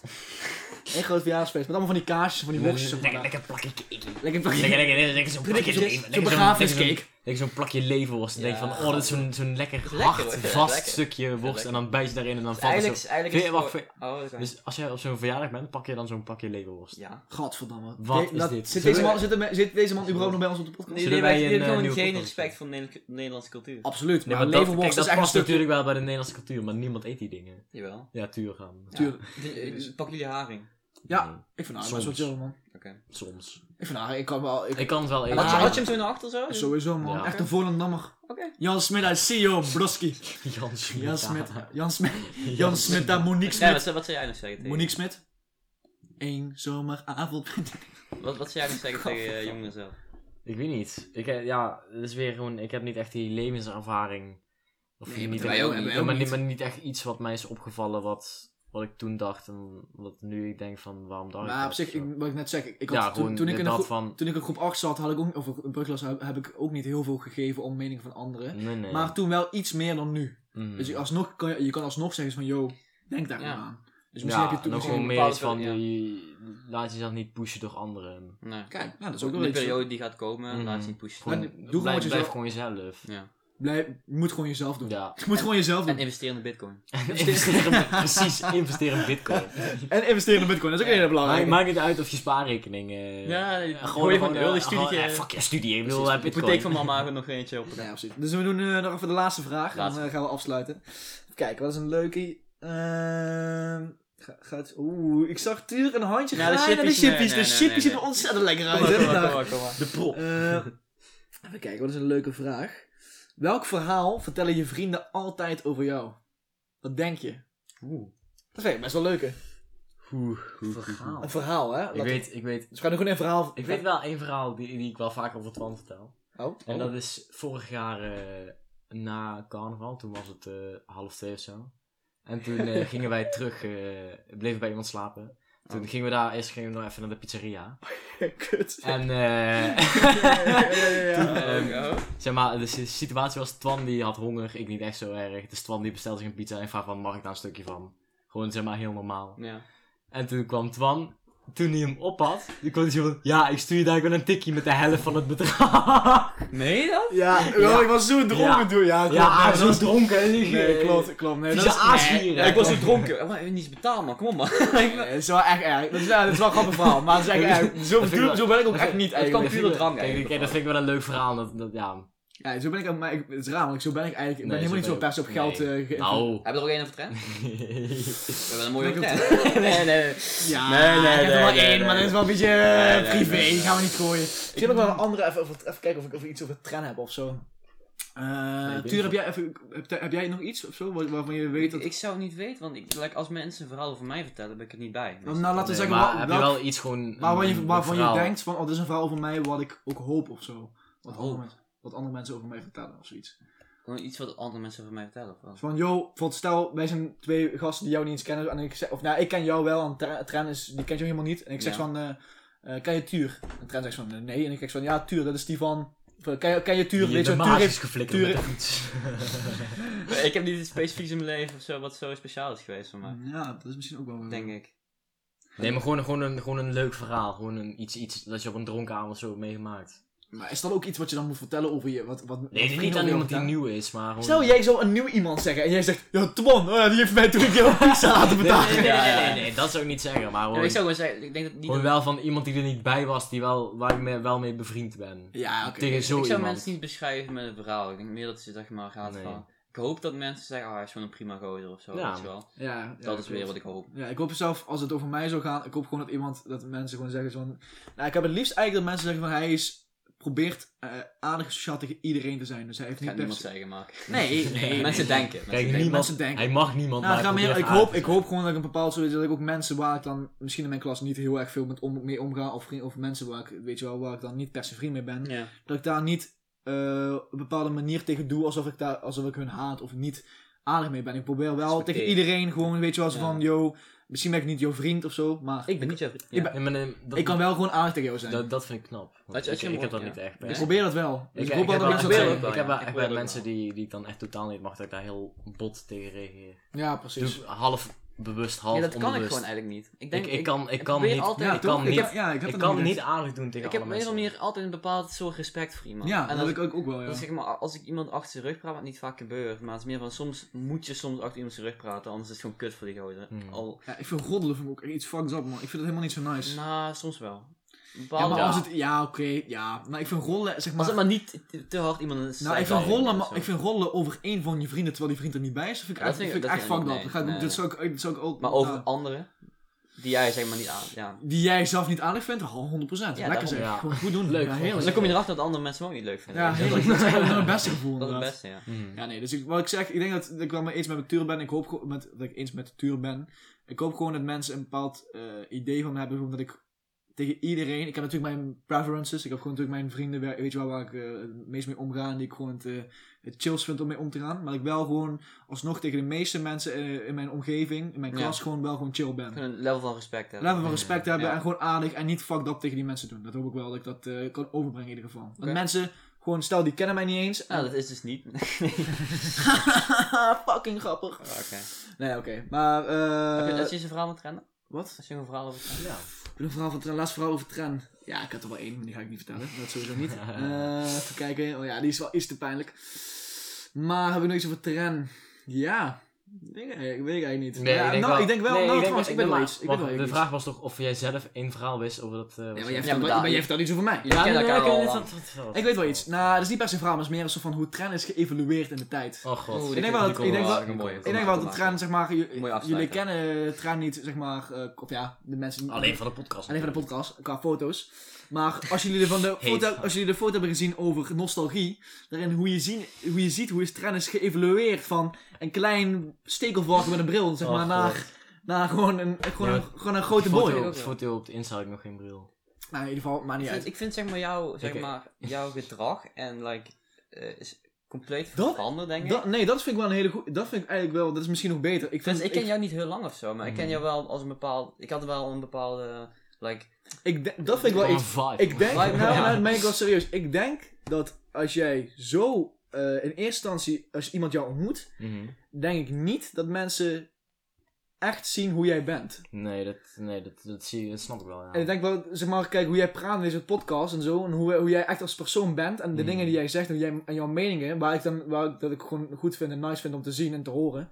Eén groot verjaardagsfeest, met allemaal van die kaarsjes, van die worstjes.
Lekker
Lekker,
lekker plakje cake.
lekker,
Lekker, lekker, lekker, lekker zo'n
lekker,
plakje
zo'n-
cake.
zo'n
lekker zo'n-
begrafeniscake.
lekker zo'n- Dat je zo'n plakje leverworst. Dan denk je
Ja.
van, oh, dat is zo'n zo'n lekker
Lekker,
hard,
hoor. Ja,
vast
lekker.
stukje worst.
lekker.
En dan bijt je daarin en dan
Dus
valt het
eigenlijk,
zo.
is- eigenlijk is
Vind je-
het
wacht,
gewoon- Oh, dat is waar.
Dus als jij op zo'n verjaardag bent, pak je dan zo'n plakje leverworst.
Ja.
Godverdamme.
Wat
Nee,
is dit?
Zit
Zullen
deze,
we-
man, zit, de me- zit deze man überhaupt nog bij ons op de podcast?
Jullie
wij
hebben
een,
jullie hebben
eh,
gewoon
nieuwe
geen
podcast
respect voor de Nederlandse- Nederlandse cultuur.
Absoluut,
Nee,
maar,
maar dat, kijk,
leverworst
dat
is echt een
past
stukje...
natuurlijk wel bij de Nederlandse cultuur, maar niemand eet die dingen.
Jawel. (laughs)
Ja, tuur gaan.
Ja.
Tuurlijk.
Dus, eh, Pak jullie haring.
Ja. Ik vind haar best wel
Soms.
chill, man.
Oké.
Soms.
Ik vind haar, ik kan wel... Ik,
Ik kan het wel eten.
Had je-
haring.
had je hem zo naar achter zo?
sowieso, man.
Ja.
Echt een voorlandnammer.
Oké.
Jan Smit uit CEO, broski.
Jan Smit.
Jan Smit. Jan Smit.
Jan
Jan
Smit.
Smit, daar Monique
Ja,
Smit.
wat, zou- wat zou jij nog zeggen tegen?
Monique Smit. Eén
(laughs)
zomeravond.
Oh,
Wat, wat zou jij nog zeggen (laughs) tegen eh, jongeren zelf?
Ik weet niet. Ik, heb- ja, het is weer gewoon, ik heb niet echt die levenservaring. Of
Nee,
niet,
maar wij ook-
maar,
wij ook
maar niet.
niet.
maar niet echt iets wat mij is opgevallen wat, wat ik toen dacht en wat nu ik denk van waarom dacht ik
Maar
dat
op zich,
of zo.
ik, wat ik net zeg, ik ik
ja,
had,
gewoon
toen, toen ik in de
dat
groep-
van...
Toen ik in groep 8 zat, had ik ook, of in brugklas heb, heb ik ook niet heel veel gegeven om meningen van anderen.
Nee, nee.
Maar toen wel iets meer dan nu.
Mhm.
Dus je, alsnog kan, je je kan alsnog zeggen van, yo, denk daar
Ja.
gewoon aan. Dus misschien
ja,
heb je toen
nog
misschien...
gewoon
een
meer iets van,
bepaalde- ja.
die, laat jezelf niet pushen door anderen.
Nee.
Kijk, nou, dat is ook wel
De
iets.
periode die gaat komen,
Mhm.
laat je niet pushen.
Gewoon,
doe gewoon
blijf,
wat je
blijf
zelf-
gewoon jezelf.
Ja.
Blijf- je moet gewoon jezelf doen. (laughs)
Ja.
Je moet gewoon jezelf doen.
En investeer in de bitcoin.
investeren, precies, investeren in
(laughs)
bitcoin.
En investeren in bitcoin, dat is ook heel
Maakt,
belangrijk.
maakt niet uit of je spaarrekening... eh,
Ja, nee,
gewoon
gooi gewoon een early
eh,
studietje.
gewoon, eh, Fuck je studie, ik wil eh,
Precies.
bitcoin.
Hypotheek van mama, hebben we nog eentje op.
Ja, precies. Dus we doen eh, nog even de laatste vraag.
Laatste.
En dan eh, gaan we afsluiten. Even kijken, wat is een leuke... Ehm ga- gaat... Oeh, ik zag Tuur een handje
Nou, de
graaien naar de
chippies, nee,
chippies. de
nee, nee,
chippies
nee,
zien
nee.
er ontzettend lekker
Kom
uit.
maar,
hè,
kom maar,
vandaag.
kom maar, kom maar.
De prop.
Eh, even kijken, wat is een leuke vraag. Welk verhaal vertellen je vrienden altijd over jou? Wat denk je? Dat vind ik best wel leuke.
Verhaal.
Een verhaal, hè?
Ik
Laat-
weet, ik weet,
Dus we gaan nu gewoon een verhaal...
ik weet wel één verhaal die, die ik wel vaak over Twan vertel.
Oh,
En
oh.
dat is vorig jaar eh, na carnaval, toen was het eh, half twee of zo. En toen (laughs) eh, gingen wij terug, eh, bleven bij iemand slapen. Toen gingen we daar eerst gingen we nog even naar de (laughs) pizzeria.
(laughs) Kut. (laughs)
En eh, (laughs)
ja.
(laughs)
ehm, zeg maar, de si- situatie was Twan die had honger, ik niet echt zo erg. Dus Twan die bestelde zich een pizza en vraagt van, mag ik daar een stukje van? Gewoon zeg maar heel normaal.
Ja.
En toen kwam Twan, toen hij hem op had, toen kwam hij zo van, ja, ik stuur je daar gewoon een tikkie met de helft van het bedrag.
Nee dat?
Ja, wel, ik was zo dronken
Ja.
toen. (laughs) Ja, klopt.
Ja,
Nee,
zo dronken. en die-
Nee, klopt, klopt. Nee, dat
Vieze
is,
aasgieren.
Ja, ik was zo dronken. Oh, maar ik heb niet eens betaald, man. Kom op, man. (laughs)
nee, dat is wel echt erg. Dat is, ja, dat is wel een grappig verhaal, maar dat is echt erg. Zo,
Dat vind ik
zo-
wel-
zo ben ik ook
dat
echt
vind-
niet
dat kan
eigenlijk.
puur door drank
Kijk,
eigenlijk.
kijk, dat vind ik wel een leuk verhaal. Dat, dat, ja.
Ja, zo ben ik, maar ik, het is raar, want ik zo ben ik eigenlijk, ik ben
Nee,
helemaal niet
zo
zo
ben
pers op
je ook-
geld eh ge-
Nou.
Hebben we er ook één over trend? We hebben een mooie
Ik
over
heb-
trend. Nee, nee.
Ja,
Nee, nee,
ik heb er wel
nee,
één,
nee,
maar
nee.
dat is wel een beetje eh,
nee,
privé,
nee,
die
nee.
gaan we niet gooien. Ik heb nog wel een andere, even, over- even kijken of ik, of ik iets over tren heb of zo. Eh,
weet
Tuur,
het.
heb jij, even, heb, heb jij nog iets of zo waar- waarvan je weet dat...
Ik zou het niet weten, want ik, like, als mensen een verhaal over mij vertellen, ben ik er niet bij. Dus
nou, (laughs) laten we
Nee,
zeggen,
maar
wel-
heb je
welk-
wel iets gewoon...
waarvan, je,
een
waarvan je
verhaal?
denkt van, oh, dit is een verhaal over mij wat ik ook hoop of zo. Wat,
Hoop.
andere, mensen- wat andere mensen over mij vertellen of zoiets.
Gewoon iets wat andere mensen van mij vertellen. Of wat?
Van, joh, bijvoorbeeld stel, wij zijn twee gasten die jou niet eens kennen. En ik zeg, of nou, ik ken jou wel, en Tra- Tran is, die kent jou helemaal niet. En ik zeg
Ja.
van, eh eh, ken je Tuur? En Tran zegt van, eh, nee. En ik zeg van, ja, Tuur, dat is die van... of, Ken je, ken je Tuur?
Die in
Weet je
de
wat Tuur
maag is
heeft?
geflikkerd
Tuur-
met de fiets.
ik heb niet iets specifieks in mijn leven of zo wat zo speciaal is geweest voor mij.
Ja, dat is misschien ook wel...
Denk ik.
(laughs) Nee, maar gewoon, gewoon, een, gewoon een leuk verhaal. Gewoon een, iets, iets dat je op een dronken avond zo hebt meegemaakt.
Maar is dat ook iets wat je dan moet vertellen over je... Wat, wat,
Nee,
wat
dit is niet
vrienden
aan
over jou
iemand die
vertellen?
nieuw is, maar gewoon...
Stel, jij zou een nieuw iemand zeggen en jij zegt, ja, Twan, oh ja, die heeft mij toen ik jou pizza laten
Nee,
betalen.
nee, nee, nee, nee, nee, dat zou ik niet zeggen, maar
Ja, maar
gewoon...
ik zou gewoon zeggen, ik denk dat niet...
Gewoon wel van iemand die er niet bij was, die wel, waar ik mee, wel mee bevriend ben.
Ja, oké.
Tegen zo
ik zou
iemand.
mensen niet beschrijven met een verhaal. Ik denk meer dat ze zeg maar gaan
Nee.
van... Ik hoop dat mensen zeggen, ah, hij is gewoon een prima gozer of zo.
Ja.
weet je wel.
Ja, ja,
Dat is weer
klopt.
wat ik hoop.
Ja, ik hoop zelf, als het over mij zou gaan, ik hoop gewoon dat iemand, dat mensen gewoon zeggen van... Nou, ik heb het liefst eigenlijk dat mensen zeggen van, hij is, probeert eh, aardig sociaal tegen iedereen te zijn. Dus hij heeft
Dat
niet
gaat
per se-
niemand zeggen, (laughs) maar...
Nee, nee.
Mensen denken.
Kijk,
Mensen denken.
niemand,
mensen denken.
hij mag
Nou,
niemand, maar
het gaat
hij
meer, ik,
probeert
hoop,
aan
ik
te
hoop gewoon dat ik een bepaald soort, dat ik ook mensen waar ik dan misschien in mijn klas niet heel erg veel met om, mee omga, of, vriend- of mensen waar ik, weet je wel, waar ik dan niet per se vriend mee ben,
Ja.
dat ik daar niet eh, op een bepaalde manier tegen doe, alsof ik, daar, alsof ik hun haat of niet aardig mee ben. Ik probeer wel tegen
Respecteer.
iedereen gewoon, weet je wel, zo
Ja.
van, yo, misschien ben ik niet jouw vriend of zo, maar
Ik ben niet zo...
Ik
Ja.
ben-
Nee, maar nee, dat,
ik kan wel gewoon aardig tegen jou zijn.
dat, dat vind ik knap. Want
Had je- had je
ik,
hem
ik heb dat
gehoord,
niet echt. per
Ik
se.
probeer dat wel. Dus ik,
ik
hoop wel
heb
dat mensen
wel-
dat
probeer
zeggen.
ook wel,
Ik heb
ja.
wel
Ik
echt
probeer
bij
ook
mensen
wel.
die, die ik dan echt totaal niet mag, dat ik daar heel bot tegen reageer.
Ja, precies.
Dus half bewust, half
Ja, dat kan ik
onbewust.
gewoon eigenlijk niet. Ik, denk,
ik, ik kan, ik kan
probeer
niet,
altijd-
ik kan niet,
heb-
ik,
ik
ja, ik heb dat
kan
nog
niet aardig doen tegen
ik heb op
alle
een of andere
mensen.
manier altijd een bepaald soort respect voor iemand.
Ja,
en
dat
als,
heb ik ook, ook wel, ja.
dat zeg maar, als ik iemand achter zijn rug praat, wat niet vaak gebeurt, maar het is meer van soms moet je soms achter iemand zijn rug praten, anders is het gewoon kut voor die gozer.
Hmm.
Al,
Ja, ik vind roddelen vind ik ook echt iets fucked up, man. Ik vind dat helemaal niet zo nice.
nou, soms wel.
ja, maar
ja.
als het... Ja, oké, ja. Maar ik vind roddelen, zeg maar...
Als het maar niet te- te hard iemand een
nou,
slijt
ik vind,
aan-
rollen,
of
maar,
zo.
ik vind rollen over één van je vrienden terwijl die vriend er niet bij is, dat vind ik
Ja,
echt,
dat vind ik-
vind ik
dat
echt
vind
fucked
ik
up.
ook
Dat ga
niet,
ik-
nee,
Dat zou ik- dat zou ik ook...
Maar over
ja,
anderen, die jij zeg maar niet aan. Ja.
Die jij zelf niet aardig vindt, 100%. Lekker
daarom,
zeg.
ja.
Gewoon goed doen.
Leuk,
Ja,
gewoon.
Dus
heerlijk.
dan kom je erachter dat andere mensen hem ook niet leuk vinden.
Ja,
Weet je wel. (laughs)
heerlijk. Dat is eigenlijk het beste gevoel
Dat is het
inderdaad.
beste, ja.
Hmm.
Ja, nee, dus ik, wat ik zeg, ik denk dat, dat ik wel mee eens met mijn tuur ben. Ik hoop gewoon met, dat ik eens met de tuur ben. Ik hoop gewoon dat mensen een bepaald eh, idee van me hebben. Omdat ik tegen iedereen, ik heb natuurlijk mijn preferences. Ik heb gewoon natuurlijk mijn vrienden, waar- weet je wel, waar ik eh, het meest mee omga. En die ik gewoon het, eh, het chills vind om mee om te gaan. Maar ik wel gewoon alsnog tegen de meeste mensen eh, in mijn omgeving, in mijn
Ja.
klas, gewoon wel gewoon chill ben.
Gewoon een level van respect hebben.
Laten we respect hebben
Ja.
en gewoon aardig en niet fucked up tegen die mensen doen. Dat hoop ik wel dat ik dat eh, kan overbrengen in ieder geval. Want
Oké.
mensen, gewoon stel die kennen mij niet eens.
Nou, dat is dus niet. (laughs)
Fucking grappig.
Oh, Oké.
Nee, oké. Maar, eh...
Heb je- Als je zijn verhaal moet rennen?
Wat?
Als je een verhaal over rennen?
Ja.
Ik wil een verhaal van Tren. Laatste verhaal over Tren. Ja, ik had er wel één, maar die ga ik niet vertellen. Dat sowieso
(laughs)
niet. Eh, even kijken. Oh ja, die is wel iets te pijnlijk. Maar heb ik nog iets over Tren? Ja. Ik denk, eh, ik weet het eigenlijk niet.
Nee,
ja,
ik denk
nou,
wel.
ik denk wel.
Nee,
nou,
ik denk
trouwens,
wel-
ik ben wel
maar-
iets. Ik ben
wacht,
wel
De
iets.
vraag was toch of jij zelf één verhaal wist over dat... eh, wat
Ja, maar
ze-
jij
Ja,
vertelt,
maar
wel-
daar-
maar jij vertelt iets over mij.
Ja,
Ja,
ken
nee,
elkaar
ik
al
weet
lang.
het, dat- dat- dat-
Ik weet wel iets. Nou, dat is niet per se een verhaal, maar het is meer een soort van hoe Tren is geëvolueerd in de tijd.
Oh god.
Oeh,
Ik denk wel
dit- dit
dat-
komt
ik denk
wel
wel-
erg een mooie.
Ik denk wel dat Tren, zeg maar, j-
Mooi afsluiten.
jullie kennen Tren niet, zeg maar, eh, of ja, de mensen die-
Alleen van de podcast.
Alleen van de podcast, qua foto's. Maar als jullie, de van de
(laughs) Heet.
foto, als jullie de foto hebben gezien over nostalgie, daarin hoe je, zien, hoe je ziet hoe is trend is geëvolueerd van een klein stekelvarken met een bril, zeg
Oh,
maar, naar, naar gewoon, een, gewoon,
Ja,
een, gewoon een grote boy.
Foto,
ook, ja.
foto op de Insta had ik nog geen bril.
Nou, in ieder geval, maar niet
Ik vind-
uit.
Ik vind zeg maar jouw, zeg
Oké.
maar, jouw gedrag en like, eh, is compleet
Dat-
veranderd, denk ik.
Dat, nee, dat vind ik wel een hele goede. Dat vind ik eigenlijk wel, dat is misschien nog beter. Ik, vind, Hmm.
dus ik ken jou niet heel lang of zo, maar ik ken
Mhm.
jou wel als een bepaald. Ik had wel een bepaalde. Like,
ik denk- dat vind ik wel
Wat
iets.
een vibe.
Ik denk, nou,
Ja.
nou, dat meen ik wel serieus. Ik denk dat als jij zo eh, in eerste instantie, als iemand jou ontmoet,
Mhm.
denk ik niet dat mensen echt zien hoe jij bent.
Nee, dat, nee dat, dat, zie, dat snap ik wel. Ja.
En ik denk wel, zeg maar, kijk hoe jij praat in deze podcast en zo. En hoe, hoe jij echt als persoon bent. En de
Mm.
dingen die jij zegt en, jij, en jouw meningen. Waar ik dan, waar ik, dat ik gewoon goed vind en nice vind om te zien en te horen.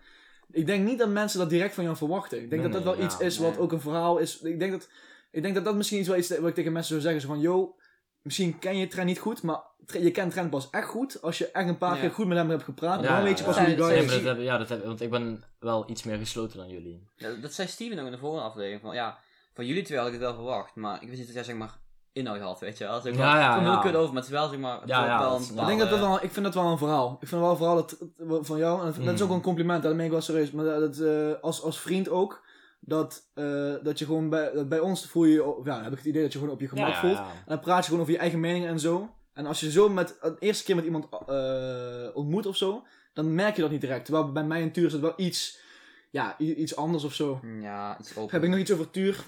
Ik denk niet dat mensen dat direct van jou verwachten. Ik denk
Nee,
dat dat wel
nee,
iets
ja,
is wat
nee.
ook een verhaal is. Ik denk dat ik denk dat, dat misschien iets wel iets wat ik tegen mensen zou zeggen. Zo van, yo, misschien ken je Trent niet goed. Maar Tre- je kent Trent pas echt goed. Als je echt een paar
Ja.
keer goed met hem hebt gepraat.
Ja,
dan
ja,
weet je
ja.
pas
Ja,
hoe die
dat
guy
nee,
zijn
is.
maar dat heb, ja, dat heb, want ik ben wel iets meer gesloten dan jullie.
ja, dat zei Steven ook in de vorige aflevering. Van, ja, van jullie twee had ik het wel verwacht, maar ik wist niet dat jij zeg maar inhoud had, weet je wel. Dus ik
Ja,
had-
ja,
ik vond het
ja.
heel kut over, maar het is wel zeg maar. het
Ja,
wordt
ja,
wel
dat
een
Ik
is-
bepaalde-
denk dat dat wel, ik vind dat wel een verhaal. Ik vind wel een verhaal dat, eh, van jou, en dat is
Mm.
ook een compliment, dat meen ik wel serieus. Maar dat, eh, als, als vriend ook, dat, eh, dat je gewoon bij, dat bij ons voel je, je- ja, heb ik het idee dat je gewoon op je gemak voelt. En dan praat je gewoon over je eigen mening en zo. En als je zo met, de eerste keer met iemand eh, ontmoet of zo, dan merk je dat niet direct. Terwijl bij mij en Tuur is dat wel iets, ja, i- iets anders of zo.
Ja, iets open.
Heb ik nog iets over Tuur?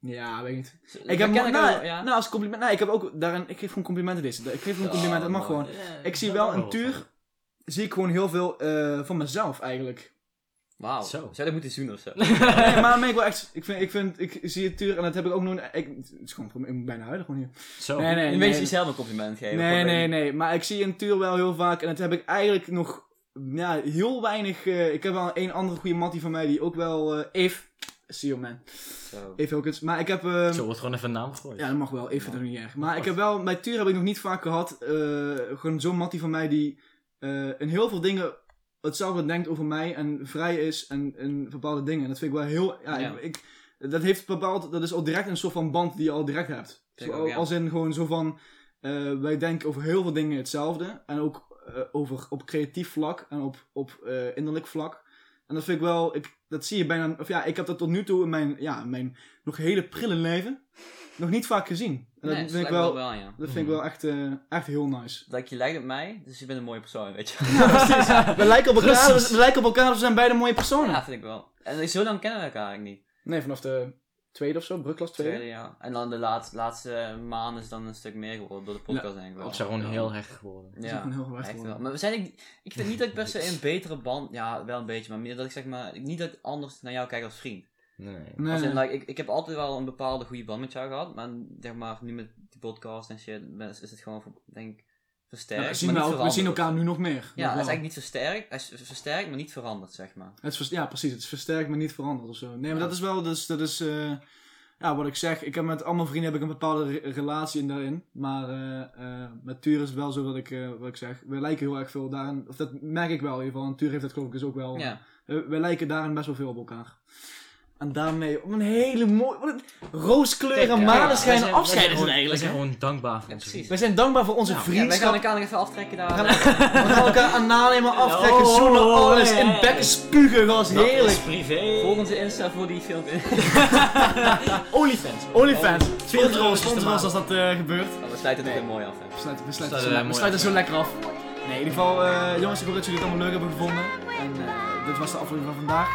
Ja, weet ik niet.
Dus-
Ik heb,
dat ken
nou,
ik ook wel, ja.
nou, als compliment, nou, ik heb ook daarin, ik geef gewoon complimenten deze. Ik geef gewoon complimenten, dat mag gewoon. Ik zie wel een tuur, zie ik gewoon heel veel eh, van mezelf eigenlijk. (laughs)
Wauw.
Zo.
Zou je dat moeten doen of zo?
Nee, maar dan ben ik wel echt, ik vind, ik vind, ik zie het tuur en dat heb ik ook nog, ik, het is gewoon, ik moet bijna huilen gewoon hier.
Zo.
Nee, nee,
Een
nee.
beetje jezelf een compliment geven.
Nee,
Gewoon,
nee, nee, maar ik zie een tuur wel heel vaak en dat heb ik eigenlijk nog, ja, heel weinig, eh, ik heb wel een andere goede mattie van mij die ook wel, eh Eve, see you man,
Zo.
Eve Hilkens, maar ik heb, eh,
Zo wordt gewoon even een naam gegooid.
Ja, dat mag wel. Ik vind het ook niet erg. Maar ik heb wel, bij Tuur heb ik nog niet vaak gehad. eh, gewoon zo'n mattie van mij die eh, in heel veel dingen hetzelfde denkt over mij en vrij is en, en bepaalde dingen. En dat vind ik wel heel. Ja,
Ja.
Ik, ik- dat heeft bepaald, dat is al direct een soort van band die je al direct hebt.
Vind ik
Zo,
ook, ja.
Als in gewoon zo van. eh, wij denken over heel veel dingen hetzelfde. En ook eh, over, op creatief vlak en op, op eh, innerlijk vlak. En dat vind ik wel, ik, dat zie je bijna. Of ja, ik heb dat tot nu toe in mijn, ja, in mijn nog hele prille leven nog niet vaak gezien. En dat
Nee,
vind ik
lijkt me
wel,
wel,
(laughs)
ja.
dat vind ik wel echt, eh, echt heel nice.
Like, je lijkt op mij, dus je bent een mooie persoon, weet je.
(laughs) We lijken op elkaar,
Precies.
we, lijken op elkaar, we zijn beide mooie personen.
ja, vind ik wel. En zo lang kennen we elkaar eigenlijk niet.
Nee, vanaf de tweede of zo, brugklas
Tweede,
tweede.
ja. En dan de laatste, laatste maand is dan een stuk meer geworden door de podcast, denk ik wel.
Of zijn gewoon heel hard geworden.
Dat is ook
Ja.
een heel hard
Echt
woord.
wel. Maar we zijn, ik, ik vind niet dat ik per se een betere band, ja, wel een beetje, maar meer dat ik zeg maar, niet dat ik anders naar jou kijk als vriend.
Nee.
Nee,
Als in,
nee.
like, ik, ik heb altijd wel een bepaalde goede band met jou gehad, maar zeg maar, nu met die podcast en shit, ben- is het gewoon, denk ik, versterkt.
Ja, we, zien
eh, maar niet
wel- we
veranderd.
zien elkaar nu nog meer.
Ja,
Nog
het is
wel.
eigenlijk niet versterkt, hij is versterkt, maar niet veranderd, zeg maar.
Het is vers- ja, precies. Het is versterkt, maar niet veranderd of zo. Nee, maar dat is wel, dus, dat is, eh, ja, wat ik zeg. Ik heb met al mijn vrienden heb ik een bepaalde re- relatie in daarin. Maar eh, eh, met Tuur is het wel zo dat ik, eh, wat ik zeg. We lijken heel erg veel daarin. Of dat merk ik wel in ieder geval. En Tuur heeft dat geloof ik dus ook wel.
Ja.
Eh, wij lijken daarin best wel veel op elkaar. En daarmee op een hele mooie, wat een rooskleur en maneschijn
Ja, wij zijn- wij zijn
afscheid
gewoon-
is het
wij
eigenlijk.
zijn
hè?
gewoon Nou, dankbaar voor
Ja,
onze
precies.
Wij zijn dankbaar voor onze
Ja, wij gaan
vriendschap.
elkaar nog even aftrekken daar.
(laughs) We gaan, we gaan elkaar aan nanemen, aftrekken,
Oh,
zoenen,
oh,
alles.
hey.
In bekken spugen, dat was
vrienden.
heerlijk.
Dat is privé.
Volg onze Insta voor die filmpje. (laughs) Oh,
OnlyFans. OnlyFans.
€20
Sponsor ons,
te
sponsor ons
maken.
als dat eh, gebeurt.
Oh, we sluiten het weer mooi af. hè.
We sluiten, we sluiten,
Sluiten
zo,
wij
lekker-
mooi
we sluiten
af.
zo lekker af. Nee, in ieder geval, eh, jongens, ik hoop dat jullie het allemaal leuk hebben gevonden. En eh, dit was de aflevering van vandaag.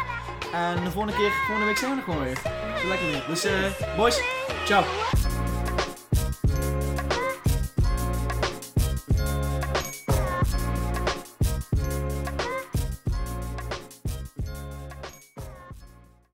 En de volgende keer, volgende week zijn we er gewoon weer. Zo lekker weer. Dus, eh, boys, ciao.